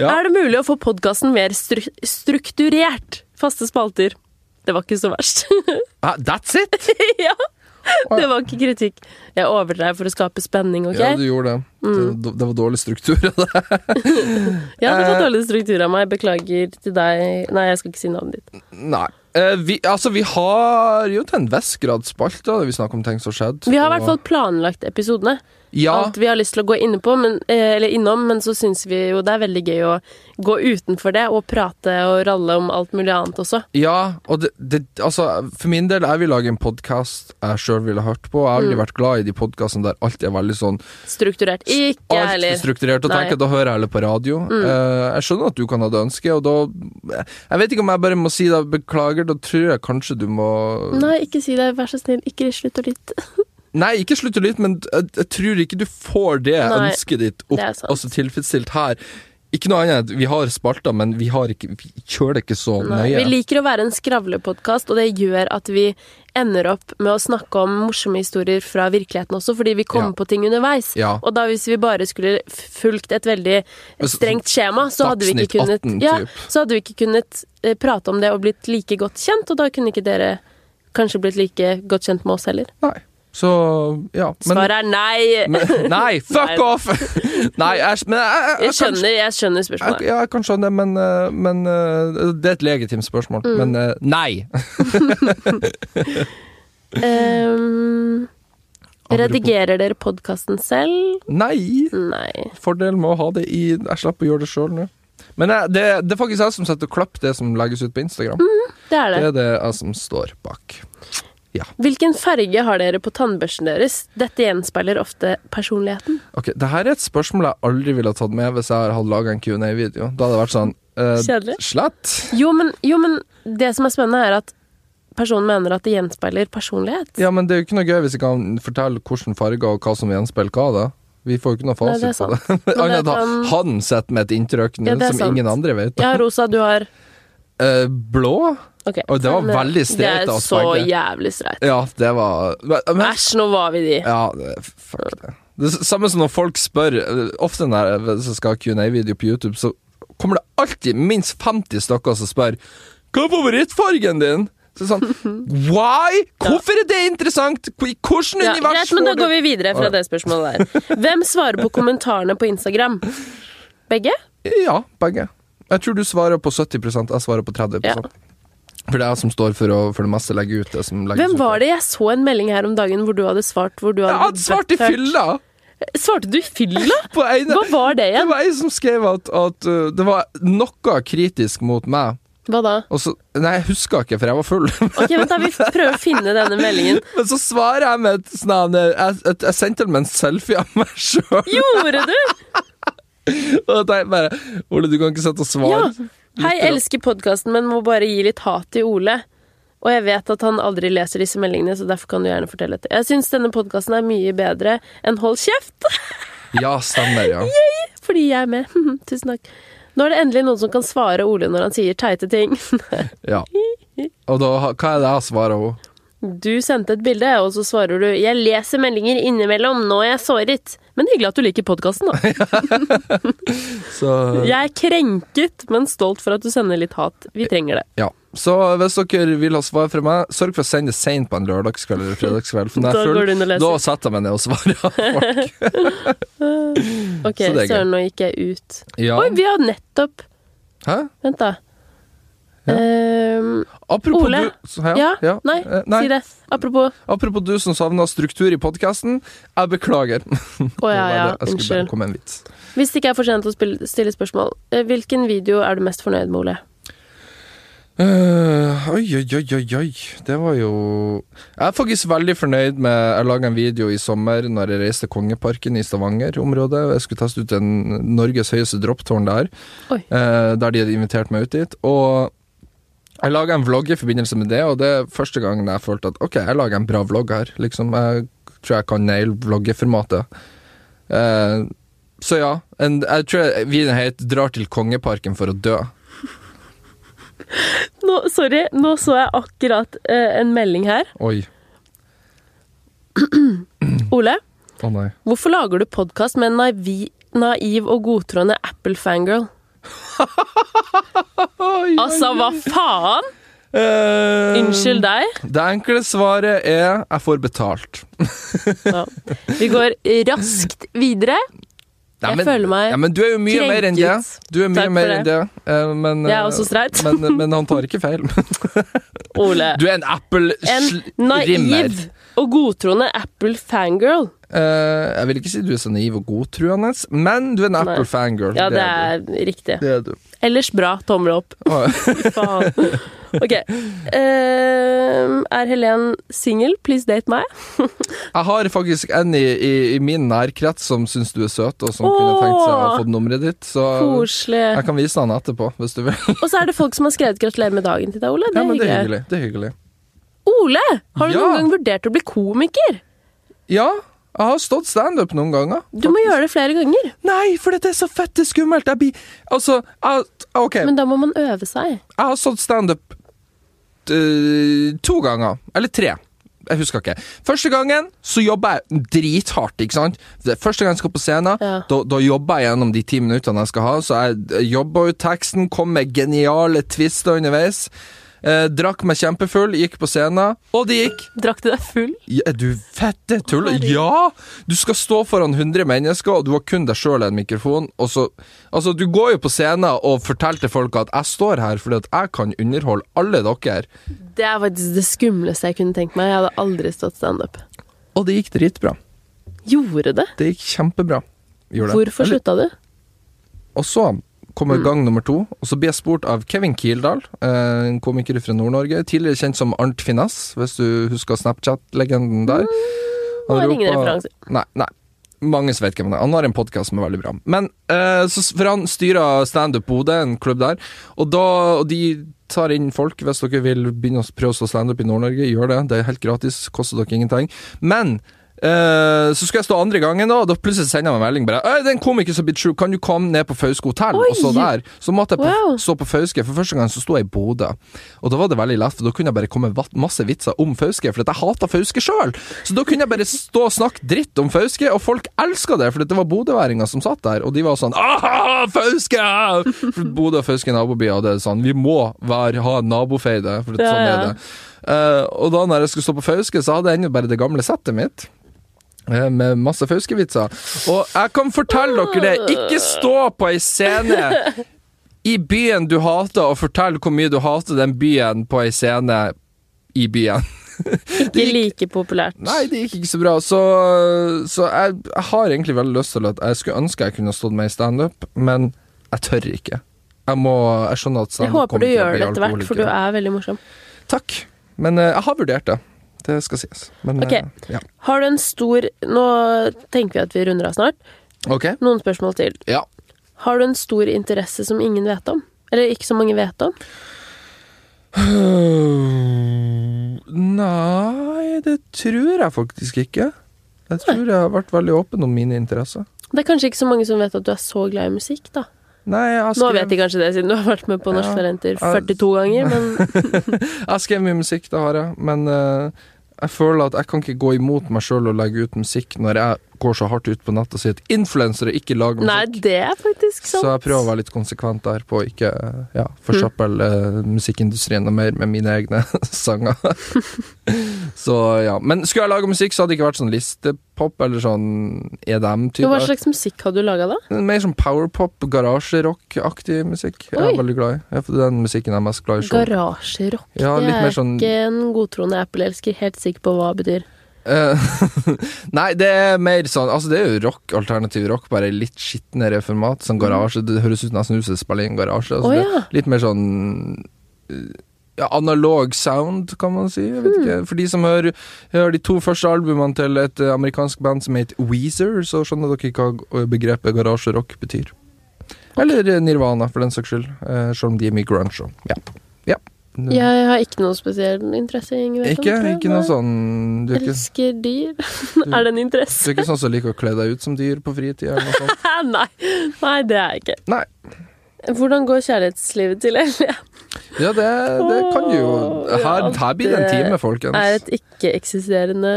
S2: Ja.
S1: Er det mulig å få podkasten mer stru strukturert? Faste spalter. Det var ikke så verst.
S2: Ah, that's it?
S1: ja, det var ikke kritikk. Jeg overdrev for å skape spenning, OK? Mm.
S2: Ja, du gjorde det. det. Det var dårlig struktur. Det.
S1: Ja, det var
S2: Eh.
S1: dårlig struktur av meg. Beklager til deg. Nei, jeg skal ikke si navnet ditt.
S2: Nei. Eh, vi, altså, vi har jo til en viss grad spalter der vi snakker om ting som skjedde.
S1: Vi har i
S2: og-
S1: hvert fall planlagt episodene.
S2: ja,
S1: Alt vi har lyst til å gå inne på, men, eh, eller innom, men så syns vi jo det er veldig gøy å gå utenfor det og prate og ralle om alt mulig annet også.
S2: ja, og det, det Altså, for min del, jeg vil lage en podkast jeg sjøl ville hørt på. Jeg har
S1: Mm.
S2: aldri vært glad i de podkastene der alt er veldig sånn
S1: Strukturert. Ikke jeg
S2: Alt er
S1: heller.
S2: strukturert, og
S1: Nei. Mm.
S2: tenker at da hører jeg heller på radio. Eh, jeg skjønner at du kan ha det ønsket, og da Jeg vet ikke om jeg bare må si da beklager, da tror jeg kanskje du må
S1: Nei, ikke si det. Vær så snill, ikke slutt å lytte.
S2: Nei, ikke slutt å lytte, men jeg, jeg tror ikke du får det
S1: Nei,
S2: ønsket ditt
S1: det er
S2: opp,
S1: sant.
S2: altså tilfredsstilt her. Ikke noe annet enn at vi har spalter, men vi, har ikke, vi kjører det ikke så
S1: Nei. Vi
S2: nøye.
S1: liker å være en skravlepodkast, og det gjør at vi ender opp med å snakke om morsomme historier fra virkeligheten også, fordi vi kommer
S2: Ja.
S1: på ting underveis.
S2: Ja.
S1: Og da hvis vi bare skulle f- fulgt et veldig
S2: s-
S1: strengt skjema, så hadde vi ikke
S2: Dagsnytt
S1: kunnet,
S2: 18
S1: ja,
S2: typ.
S1: så hadde vi ikke kunnet eh, prate om det og blitt like godt kjent, og da kunne ikke dere kanskje blitt like godt kjent med oss heller.
S2: Nei. Så ja. Men,
S1: Svaret er nei!
S2: men Nei, fuck
S1: Nei.
S2: off! Nei, jeg, men jeg, jeg,
S1: jeg,
S2: jeg kan-
S1: skjønner, jeg skjønner
S2: Jeg,
S1: spørsmålet.
S2: ja, jeg kan skjønne det, men, eh, men eh, Det er et legitimt spørsmål,
S1: Mm.
S2: men eh, nei!
S1: Ehm, redigerer dere podkasten selv?
S2: Nei!
S1: Nei.
S2: Fordelen med å ha det i Jeg slipper å gjøre det sjøl nå. Men jeg, det, det er faktisk jeg som setter og klipper det som legges ut på Instagram.
S1: Det er det.
S2: Det er det jeg som står bak.
S1: Hvilken farge har dere på tannbørsten deres? Dette gjenspeiler ofte personligheten.
S2: Ok, Det her er et spørsmål jeg aldri ville ha tatt med hvis jeg hadde laga en Q&A-video. Da hadde det vært sånn Eh,
S1: Kjedelig.
S2: Slett.
S1: Jo men, jo, men det som er spennende, er at personen mener at det gjenspeiler personlighet.
S2: Ja, men det er jo ikke noe gøy hvis jeg kan fortelle hvilke farger og hva som gjenspeiler hva, da. Vi får jo ikke noe
S1: Nei, det er
S2: fasit på det.
S1: sant. Men
S2: Annet
S1: det
S2: enn at
S1: kan-
S2: han sitter med et inntrykk nå
S1: Ja, det er
S2: som
S1: sant.
S2: ingen andre vet.
S1: Ja, Rosa, du har
S2: Eh, blå?
S1: Ok.
S2: Oi, det var
S1: Men, eh,
S2: veldig streit
S1: Det
S2: av
S1: er
S2: oss
S1: så
S2: begge.
S1: jævlig streit.
S2: Ja, det var men, men-
S1: Æsj, nå var vi de.
S2: Ja, det- fuck det. Det er s- samme som når folk spør eh, Ofte når jeg hvis jeg skal ha Q&A-video på YouTube, så kommer det alltid minst 50 stykker som spør Hva er favorittfargen din? Så sånn Why? Hvorfor er det interessant? Hvor- I hvilket
S1: Ja,
S2: univers
S1: greit, men da
S2: får du-
S1: går vi videre fra det spørsmålet der. Hvem svarer på kommentarene på Instagram? Begge?
S2: Ja, begge. Jeg tror du svarer på 70 jeg svarer på 30
S1: Ja.
S2: For det er jeg som står for å for det meste legge ut det som legges
S1: Hvem
S2: ut.
S1: var det jeg så en melding her om dagen hvor du hadde svart? Hvor du hadde
S2: Jeg hadde svart i
S1: butthurt?
S2: fylla!
S1: Svarte du i fylla?
S2: På ene
S1: Hva var det
S2: Det
S1: igjen?
S2: var ei som skrev at, at uh, det var noe kritisk mot meg.
S1: Hva da?
S2: Og så, nei, jeg husker ikke, for jeg var full.
S1: Ok, vent da, Vi prøver å finne denne meldingen.
S2: Men så svarer jeg med et sånn her, jeg, jeg, jeg sendte dem en selfie av meg sjøl.
S1: Gjorde du?
S2: Og jeg tenkte bare Ole, du kan ikke sitte og svare.
S1: Ja. Hei, elsker podkasten, men må bare gi litt hat til Ole. Og jeg vet at han aldri leser disse meldingene, så derfor kan du gjerne fortelle det. Jeg syns denne podkasten er mye bedre enn Hold kjeft,
S2: Ja, stemmer, ja.
S1: fordi jeg er med. Tusen takk. Nå er det endelig noen som kan svare Ole når han sier teite ting.
S2: ja. Og da, ha- hva er det jeg svarer henne?
S1: Du sendte et bilde, og så svarer du 'Jeg leser meldinger innimellom, nå er jeg såret'. Men hyggelig at du liker podkasten, da.
S2: Så
S1: Jeg er krenket, men stolt for at du sender litt hat. Vi trenger det.
S2: ja. Så hvis dere vil ha svar fra meg, sørg for å sende det seint på en lørdagskveld eller fredagskveld. For når
S1: Da
S2: jeg er
S1: går du
S2: full,
S1: inn og leser.
S2: da setter jeg meg ned og svarer.
S1: Ok,
S2: Så det er gøy.
S1: søren, nå gikk jeg ut.
S2: Ja.
S1: Oi, vi har nettopp
S2: Hæ?
S1: Vent, da.
S2: Ja.
S1: Ehm,
S2: Apropos
S1: Ole?
S2: du Hæ?
S1: ja,
S2: Ja.
S1: Nei,
S2: Eh, nei.
S1: si det. Apropos
S2: Apropos du som savna struktur i podkasten, jeg beklager.
S1: Å ja, ja,
S2: Jeg skulle bare
S1: unnskyld.
S2: komme med en vits.
S1: Hvis det ikke er for sent å spille, stille spørsmål, eh, hvilken video er du mest fornøyd med, Ole?
S2: Eh, oi, oi, oi, oi, oi. Det var jo Jeg er faktisk veldig fornøyd med Jeg laga en video i sommer når jeg reiste Kongeparken i Stavanger-området. Jeg skulle teste ut en Norges høyeste dropptårn der,
S1: Oi.
S2: eh, der de hadde invitert meg ut dit. Og jeg laga en vlogg i forbindelse med det, og det er første gangen jeg følte at OK, jeg lager en bra vlogg her. Liksom, jeg tror jeg kan naile vloggeformatet. Eh, så ja. En, jeg tror videoen het 'Drar til Kongeparken for å dø'.
S1: Nå, sorry, nå så jeg akkurat eh, en melding her.
S2: Oi.
S1: Ole,
S2: Å nei.
S1: hvorfor lager du podkast med en naiv, naiv og godtroende Apple-fangirl? Altså, hva faen?
S2: Eh,
S1: Unnskyld deg.
S2: Det enkle svaret er jeg får betalt.
S1: Ja. Vi går raskt videre. Jeg føler meg
S2: ja, men Du er jo mye mer enn det.
S1: krenket.
S2: Du er mye
S1: Takk for
S2: mer
S1: det.
S2: enn det. eh, men,
S1: Det er
S2: eh,
S1: også streit.
S2: men, men han tar ikke feil.
S1: Ole.
S2: Du er en
S1: En
S2: Apple-rimmer.
S1: naiv og godtroende Apple-fangirl.
S2: Eh, jeg vil ikke si du er så naiv og godtruende, men du er en
S1: Nei.
S2: Apple-fangirl.
S1: Ja, det
S2: er
S1: er riktig.
S2: du. Det er du.
S1: Ellers bra. Tommel opp.
S2: Å,
S1: Faen. Ok. Ehm, er Helen singel? Please date meg.
S2: Jeg har faktisk en i, i, i min nærkrets som syns du er søt, og som kunne
S1: Åh.
S2: tenkt seg å få nummeret ditt. Så
S1: Koselig.
S2: jeg kan vise han etterpå, hvis du vil.
S1: Og så er det folk som har skrevet 'gratulerer med dagen' til deg, Ole. Det
S2: Ja,
S1: er
S2: men det er
S1: hyggelig.
S2: hyggelig. Det er hyggelig.
S1: Ole! Har du
S2: Ja.
S1: noen gang vurdert å bli komiker?
S2: Ja, jeg har stått standup noen ganger.
S1: Du må gjøre det flere ganger.
S2: Nei, for dette er så fette skummelt! Jeg blir Altså, jeg, OK.
S1: Men da må man øve seg.
S2: Jeg har stått standup eh, to ganger. Eller tre. Jeg husker ikke. Første gangen så jobba jeg drithardt. ikke sant? Det er Første gang jeg skal på scenen,
S1: Ja.
S2: da, da jobber jeg gjennom de ti minuttene jeg skal ha. Så jeg jobba ut teksten, kom med geniale twister underveis. Eh, drakk meg kjempefull, gikk på scenen, og det gikk.
S1: Drakk du deg full?
S2: Ja, er du fette tull?
S1: Herregud.
S2: Ja! Du skal stå foran 100 mennesker, og du har kun deg sjøl en mikrofon. Og så, altså, du går jo på scenen og forteller til folk at 'jeg står her fordi at jeg kan underholde alle dere'.
S1: Det er faktisk det skumleste jeg kunne tenkt meg. Jeg hadde aldri stått standup.
S2: Og det gikk dritbra.
S1: Gjorde det?
S2: Det gikk kjempebra. Gjorde det.
S1: Hvorfor
S2: Eller-
S1: slutta du?
S2: Og så kommer gang nummer to, og så blir jeg spurt av Kevin Kildahl, eh, en komiker fra Nord-Norge, tidligere kjent som Arnt Finesse, hvis du husker Snapchat-legenden der.
S1: har ingen referanser.
S2: Nei, nei. mange som vet hvem han er. Han har en podkast som er veldig bra. Men, eh, så, for han styrer Standup Bodø, en klubb der, og, da, og de tar inn folk. Hvis dere vil begynne å s- prøve å stå standup i Nord-Norge, gjør det. Det er helt gratis, koster dere ingenting. Men eh, så skulle jeg stå andre gangen, da, og da plutselig sender jeg meg en melding bare «Øy, det er en komiker som blir sjuk, kan du komme ned på Fauske hotell?»
S1: Oi!
S2: Og så der. Så måtte jeg på,
S1: Wow.
S2: stå på Fauske. For første gang så sto jeg i Bodø, og da var det veldig lett, for da kunne jeg bare komme vatt- masse vitser om Fauske, for at jeg hater Fauske sjøl. Så da kunne jeg bare stå og snakke dritt om Fauske, og folk elska det, for det var bodøværinger som satt der, og de var sånn «Aha, Fauske! For Bodø og Fauske er nabobyer, og det er sånn Vi må være, ha nabofeide, for at
S1: Ja,
S2: sånn er
S1: ja.
S2: det. Eh, og da når jeg skulle stå på Fauske, så hadde jeg ennå bare det gamle settet mitt. Eh, Med masse Fauske-vitser. Og jeg kan fortelle dere det, ikke stå på ei scene i byen du hater, og fortell hvor mye du hater den byen på ei scene i byen.
S1: Ikke like populært.
S2: Nei, det gikk ikke så bra, så, så jeg, jeg har egentlig veldig lyst til at jeg skulle ønske jeg kunne stått med i standup, men jeg tør ikke. Jeg må, jeg skjønner at
S1: Jeg
S2: standup
S1: håper du
S2: kommer til å
S1: gjør
S2: bli
S1: det etter hvert, for du
S2: alkoholiker.
S1: er veldig morsom.
S2: Takk. Men eh, jeg har vurdert det. Det skal sies. Men,
S1: Ok.
S2: eh, ja.
S1: Har du en stor Nå tenker vi at vi runder av snart.
S2: Ok.
S1: Noen spørsmål til.
S2: Ja.
S1: Har du en stor interesse som ingen vet om? Eller ikke så mange vet om?
S2: Nei, det tror jeg faktisk ikke. Jeg tror jeg har vært veldig åpen om mine interesser.
S1: Det er kanskje ikke så mange som vet at du er så glad i musikk, da.
S2: Nei, jeg har
S1: Nå vet
S2: skrevet,
S1: de kanskje det, siden du har vært med på Norsk
S2: Ja.
S1: Talenter
S2: Ja.
S1: 42 ganger, men
S2: jeg har skrevet mye musikk, det har jeg, men eh, jeg føler at jeg kan ikke gå imot meg sjøl og legge ut musikk når jeg går så hardt ut på nett og sier at influensere ikke lager
S1: Nei,
S2: musikk.
S1: det er faktisk
S2: Så
S1: sant.
S2: jeg prøver å være litt konsekvent der på å ikke ja, forsøple eh, musikkindustrien noe mer med mine egne sanger. så ja. Men skulle jeg lage musikk, så hadde det ikke vært sånn listepop eller sånn
S1: Jo, Hva
S2: EDM-type.
S1: slags musikk har du laga, da?
S2: Mer sånn powerpop, garasjerock-aktig musikk. Jeg
S1: Oi.
S2: er veldig glad i. Ja, for det er den musikken jeg er mest glad i sjøl.
S1: Garasjerock.
S2: sånn. Ja,
S1: det
S2: litt
S1: er
S2: mer sånn
S1: ikke en godtroende Apple-elsker helt sikker på hva det betyr.
S2: Eh, Nei, det er mer sånn Altså, det er jo rock, alternativ rock, bare i litt skitnere format. Sånn garasje. Det høres ut nesten ut som det spiller i en garasje.
S1: Å,
S2: Altså, det-
S1: ja.
S2: Litt mer sånn eh, ja, analog sound, kan man si. Jeg vet ikke. For de som hører, hører de to første albumene til et eh, amerikansk band som heter Weezer, så skjønner dere ikke hva begrepet garasjerock betyr. Eller eh, Nirvana, for den saks skyld. eh, Selv om de er mye grunge. og- Ja. ja.
S1: Jeg har ikke noe spesiell interesse i Ingevedt.
S2: Ikke, ikke noe sånn Du er ikke,
S1: Elsker dyr. er det en
S2: du
S1: interesse?
S2: er ikke sånn som liker å kle deg ut som dyr på fritida, eller noe sånt?
S1: Hæ, Nei. Nei, det er jeg ikke.
S2: Nei.
S1: Hvordan går kjærlighetslivet til Elia?
S2: Ja, det, det kan du jo her, her blir det en time,
S1: Er
S2: folkens.
S1: et ikke-eksisterende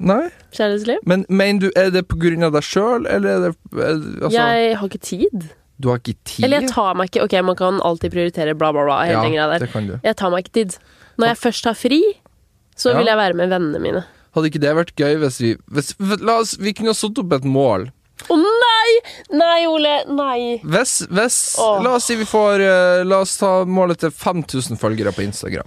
S2: Nei,
S1: kjærlighetsliv?
S2: Men mener du, er det på grunn av deg sjøl, eller er det er- altså,
S1: Jeg har ikke tid.
S2: Du har ikke tid?
S1: Eller jeg tar meg ikke Ok, man kan alltid prioritere bla, bla, bla. Hele den greia der.
S2: ja, det kan du.
S1: Jeg tar meg ikke tid. Når jeg først har fri, så
S2: Ja.
S1: vil jeg være med vennene mine.
S2: Hadde ikke det vært gøy hvis vi hvis, La oss, Vi kunne ha satt opp et mål.
S1: Å nei! Nei, Ole. Nei.
S2: Hvis, hvis
S1: Åh.
S2: La oss si vi får eh, La oss ta målet til 5000 følgere på Instagram.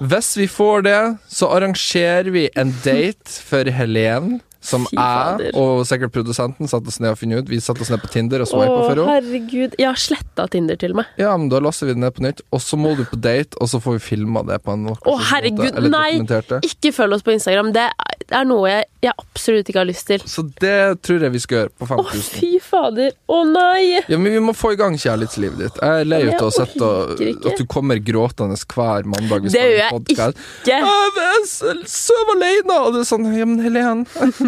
S2: Hvis vi får det, så arrangerer vi en date for Helen. Som
S1: Fy fader.
S2: jeg og sikkert produsenten satte oss ned og finne ut. Vi satte oss ned på Tinder
S1: Å,
S2: og swipa for henne.
S1: herregud. Jeg har sletta Tinder til meg.
S2: Ja, men da laster vi det ned på nytt, og så må du på date, og så får vi filma det på en nok-
S1: Å, herregud,
S2: eller
S1: nei!
S2: dokumentert det.
S1: Ikke følg oss på Instagram. Det er- det er noe jeg, jeg absolutt ikke har lyst til.
S2: Så det tror jeg vi skal gjøre på
S1: Å,
S2: 5000.
S1: fy fader. Å nei!
S2: Ja, men Vi må få i gang kjærlighetslivet ditt. Jeg er lei
S1: Men jeg
S2: ut av å sette og-
S1: orker ikke.
S2: at du kommer gråtende hver mandag. hvis
S1: Det
S2: vi
S1: gjør
S2: har en
S1: jeg
S2: podcast.
S1: ikke.
S2: «Æ, Jeg s- sover alene! Og det er sånn Ja, men Helen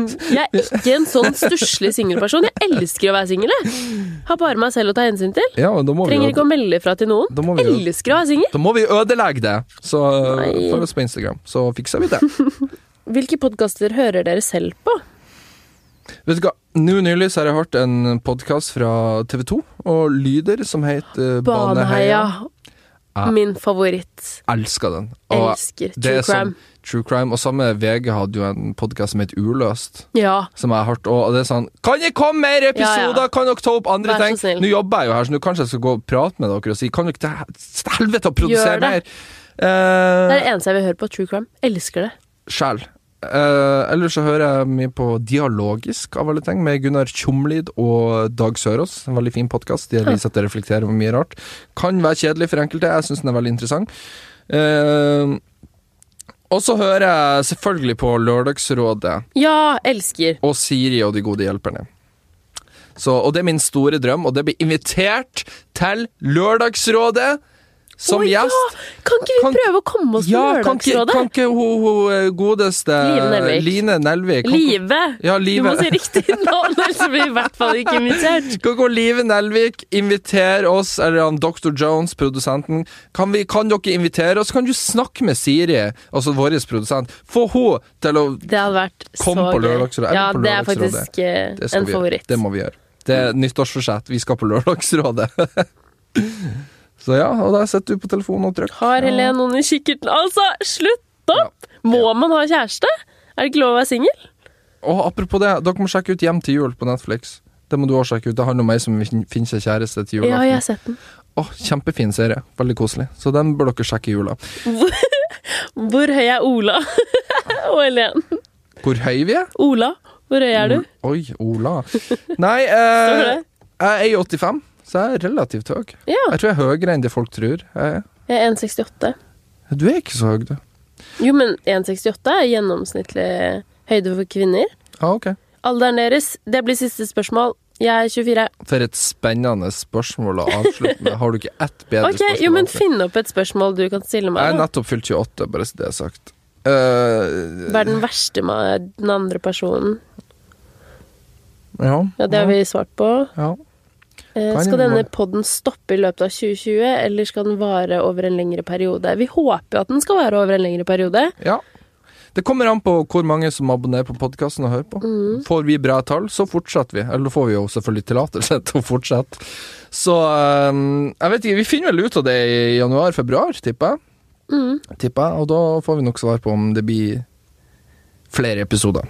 S1: Jeg er ikke en sånn stusslig singelperson. Jeg elsker å være singel. jeg. Har bare meg selv å ta hensyn til.
S2: Ja, men da må vi
S1: Trenger ikke å
S2: øde-
S1: melde fra til noen.
S2: Da må vi jo-
S1: Elsker å være singel.
S2: da må vi ødelegge det! Så øh,
S1: Nei.
S2: følg oss på Instagram, så fikser vi det.
S1: Hvilke podkaster hører dere selv på?
S2: Vet du hva, nå nylig så har jeg hørt en podkast fra TV 2 og Lyder som heter Baneheia.
S1: Baneheia.
S2: Ja.
S1: Min favoritt.
S2: Elsker den. Og
S1: Elsker
S2: Det
S1: true
S2: er
S1: crime.
S2: Sånn, true crime. Og samme VG hadde jo en podkast som het Uløst,
S1: Ja.
S2: som jeg har hørt. Og det er sånn Kan det komme mer episoder?!
S1: Ja, ja.
S2: Kan dere ta opp andre
S1: Vær så
S2: ting?
S1: snill.
S2: Nå jobber jeg jo her, så nå kanskje jeg skal gå og prate med dere og si Kan dere til hel- til helvete og produsere
S1: Gjør det.
S2: mer?
S1: Det er
S2: Eh,
S1: det eneste jeg vil høre på. True crime. Elsker det.
S2: Sjæl. Eh, ellers så hører jeg mye på Dialogisk, av alle ting, med Gunnar Tjomlid og Dag Sørås. En veldig fin podkast. De viser at det reflekterer over mye rart. Kan være kjedelig for enkelte, jeg syns den er veldig interessant. Eh, Og så hører jeg selvfølgelig på Lørdagsrådet
S1: Ja, elsker.
S2: og Siri og De gode hjelperne. Så, og det er min store drøm, og det blir invitert til Lørdagsrådet som
S1: Å, ja!
S2: gjest.
S1: Kan ikke vi
S2: Kan-
S1: prøve å komme oss på
S2: Ja, kan ikke,
S1: Lørdagsrådet?
S2: kan ikke hun, hun eh, godeste
S1: Line Nelvik.
S2: Line Nelvik. Kan-
S1: Live!
S2: Ja,
S1: Du
S2: Live.
S1: må si riktig navn, ellers blir vi i hvert fall ikke invitert.
S2: Kan gå Live Nelvik, inviter oss, eller han Dr. Jones, produsenten. Kan, vi, kan dere invitere oss? Kan du snakke med Siri, altså vår produsent? Få henne til å
S1: Det hadde vært
S2: Kom
S1: så
S2: på
S1: gøy.
S2: Lørdagsrådet, eller
S1: Ja,
S2: på
S1: det er
S2: Lørdagsrådet.
S1: faktisk eh,
S2: Det skal
S1: en
S2: vi gjøre.
S1: favoritt.
S2: Det må vi gjøre. Det er nyttårsforsett. Vi skal på Lørdagsrådet. Så ja, og der sitter du på telefonen og trykker.
S1: Har Helen noen i kikkerten? Altså, slutt opp! Må man ha kjæreste? Er det ikke lov å være singel?
S2: Og apropos det, dere må sjekke ut Hjem til jul på Netflix. Det må du også sjekke ut. Det handler om ei som fin- finner seg kjæreste til
S1: Ja, jeg har
S2: julaften.
S1: sett den.
S2: Åh, kjempefin serie. Veldig koselig. Så den bør dere sjekke i jula.
S1: Hvor høy er Ola? og Helen.
S2: Hvor høy vi er?
S1: Ola, hvor høy er du?
S2: Oi, Ola. Nei,
S1: Står
S2: eh,
S1: det?
S2: jeg er 85, så jeg er relativt høy.
S1: Ja,
S2: Jeg tror jeg er høyere enn det folk tror. Jeg er.
S1: jeg er 1,68.
S2: Du er ikke så høy, du.
S1: Jo, men 1,68 er gjennomsnittlig høyde for kvinner.
S2: Ja, ok.
S1: Alderen deres, det blir siste spørsmål. Jeg er 24.
S2: For et spennende spørsmål å avslutte med. Har du ikke ett bedre
S1: Ok,
S2: spørsmål?
S1: jo, men
S2: å avslutte?
S1: finn opp et spørsmål du kan stille
S2: Jeg er
S1: meg. da.
S2: nettopp fylt 28, bare så det er sagt. Eh,
S1: Hva er den verste med den andre personen?
S2: ja.
S1: Ja, det har vi svart på.
S2: ja.
S1: Eh,
S2: Kan
S1: Skal
S2: jeg-
S1: denne podden stoppe i løpet av 2020, eller skal den vare over en lengre periode? Vi håper jo at den skal vare over en lengre periode.
S2: Ja. Det kommer an på hvor mange som abonnerer på podkasten og hører på.
S1: Mm.
S2: Får vi bra tall, så fortsetter vi. Eller da får vi jo selvfølgelig tillatelse til å fortsette. Så eh, jeg vet ikke, vi finner vel ut av det i januar-februar, tipper jeg.
S1: Mm.
S2: Tipper jeg. Og da får vi nok svar på om det blir flere episoder.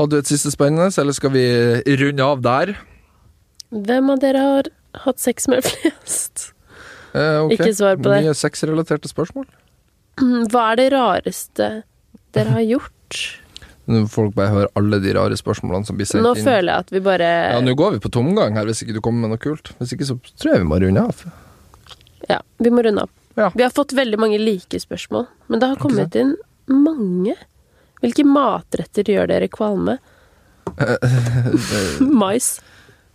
S2: Hadde du et siste spennende, eller skal vi runde av der?
S1: Hvem av dere har hatt sex med flest?
S2: Eh, ok.
S1: Ikke svar på det.
S2: Mye sexrelaterte spørsmål.
S1: Mm, Hva er det rareste dere har gjort?
S2: Nå Folk bare hører alle de rare spørsmålene som blir sendt
S1: Nå
S2: inn.
S1: føler jeg at vi bare
S2: Ja, nå går vi på tomgang her, hvis ikke du kommer med noe kult. Hvis ikke, så tror jeg vi må runde av.
S1: Ja, vi må runde av.
S2: Ja.
S1: Vi har fått veldig mange like spørsmål, men det har kommet inn mange. Hvilke matretter gjør dere kvalme? Mais.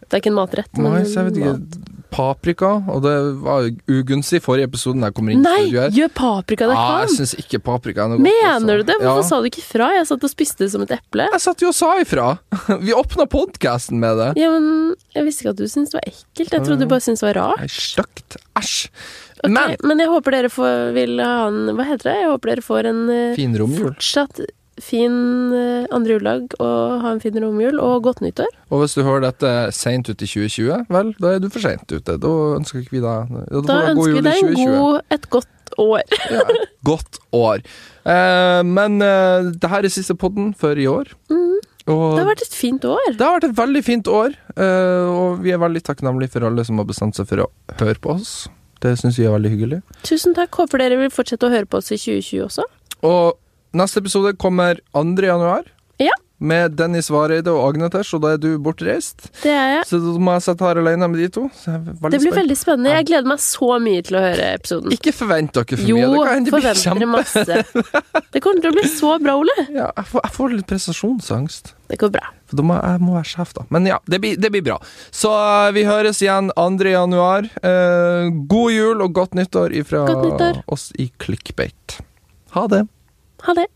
S1: Det er ikke en matrett, men
S2: Nei, så jeg vet
S1: mat.
S2: ikke. Paprika, og det var ugunstig i forrige episode da jeg kommer inn i
S1: Nei,
S2: studio her.
S1: gjør paprika det
S2: ah, jeg
S1: kan!
S2: syns ikke paprika er noe
S1: Mener du det? Hvorfor
S2: altså. ja.
S1: sa du ikke fra? Jeg satt og spiste det som et eple.
S2: Jeg satt jo og sa ifra! Vi åpna podkasten med det.
S1: Ja, men jeg visste ikke at du syntes det var ekkelt. Jeg trodde du bare syntes det var rart.
S2: Nei, Stygt. Æsj.
S1: Ok,
S2: Men
S1: men jeg håper dere får, vil ha en Hva heter det? Jeg håper dere får en eh,
S2: fin romjul.
S1: fortsatt fin eh, andre juledag og ha en fin romjul og godt nyttår.
S2: Og hvis du hører dette seint ut i 2020, vel, da er du for seint ute. Da ønsker ikke vi deg Da, får
S1: Da
S2: du
S1: ønsker vi
S2: god jul i
S1: deg en
S2: 2020.
S1: god, et godt år.
S2: Ja, et godt år. Eh, men eh, det her er siste podden for i år. Og
S1: Mhm. Det har vært et fint år.
S2: det har vært et veldig fint år, eh, og vi er veldig takknemlige for alle som har bestemt seg for å høre på oss. Det syns vi er veldig hyggelig.
S1: Tusen takk. Håper dere vil fortsette å høre på oss i 2020 også.
S2: Og neste episode kommer 2. januar.
S1: Ja.
S2: Med Dennis Vareide og Agnetesh, og da er du bortreist.
S1: Det er jeg.
S2: Så da må jeg sitte her alene med de to. Så jeg er veldig
S1: Det blir
S2: spent.
S1: veldig spennende. Jeg gleder meg så mye til å høre episoden.
S2: Ikke forvent dere for
S1: Jo,
S2: mye. Det kan hende det blir
S1: forvent dere
S2: kjempe...
S1: masse. Det kommer til å bli så bra, Ole.
S2: Ja, jeg, får, jeg får litt prestasjonsangst.
S1: Det går bra.
S2: For da må jeg må være sjef, da. Men ja, det blir, det blir bra. Så eh, vi høres igjen 2. januar. Eh, god jul og godt nyttår ifra
S1: Godt nyttår.
S2: oss i Clickbait. Ha det.
S1: Ha det.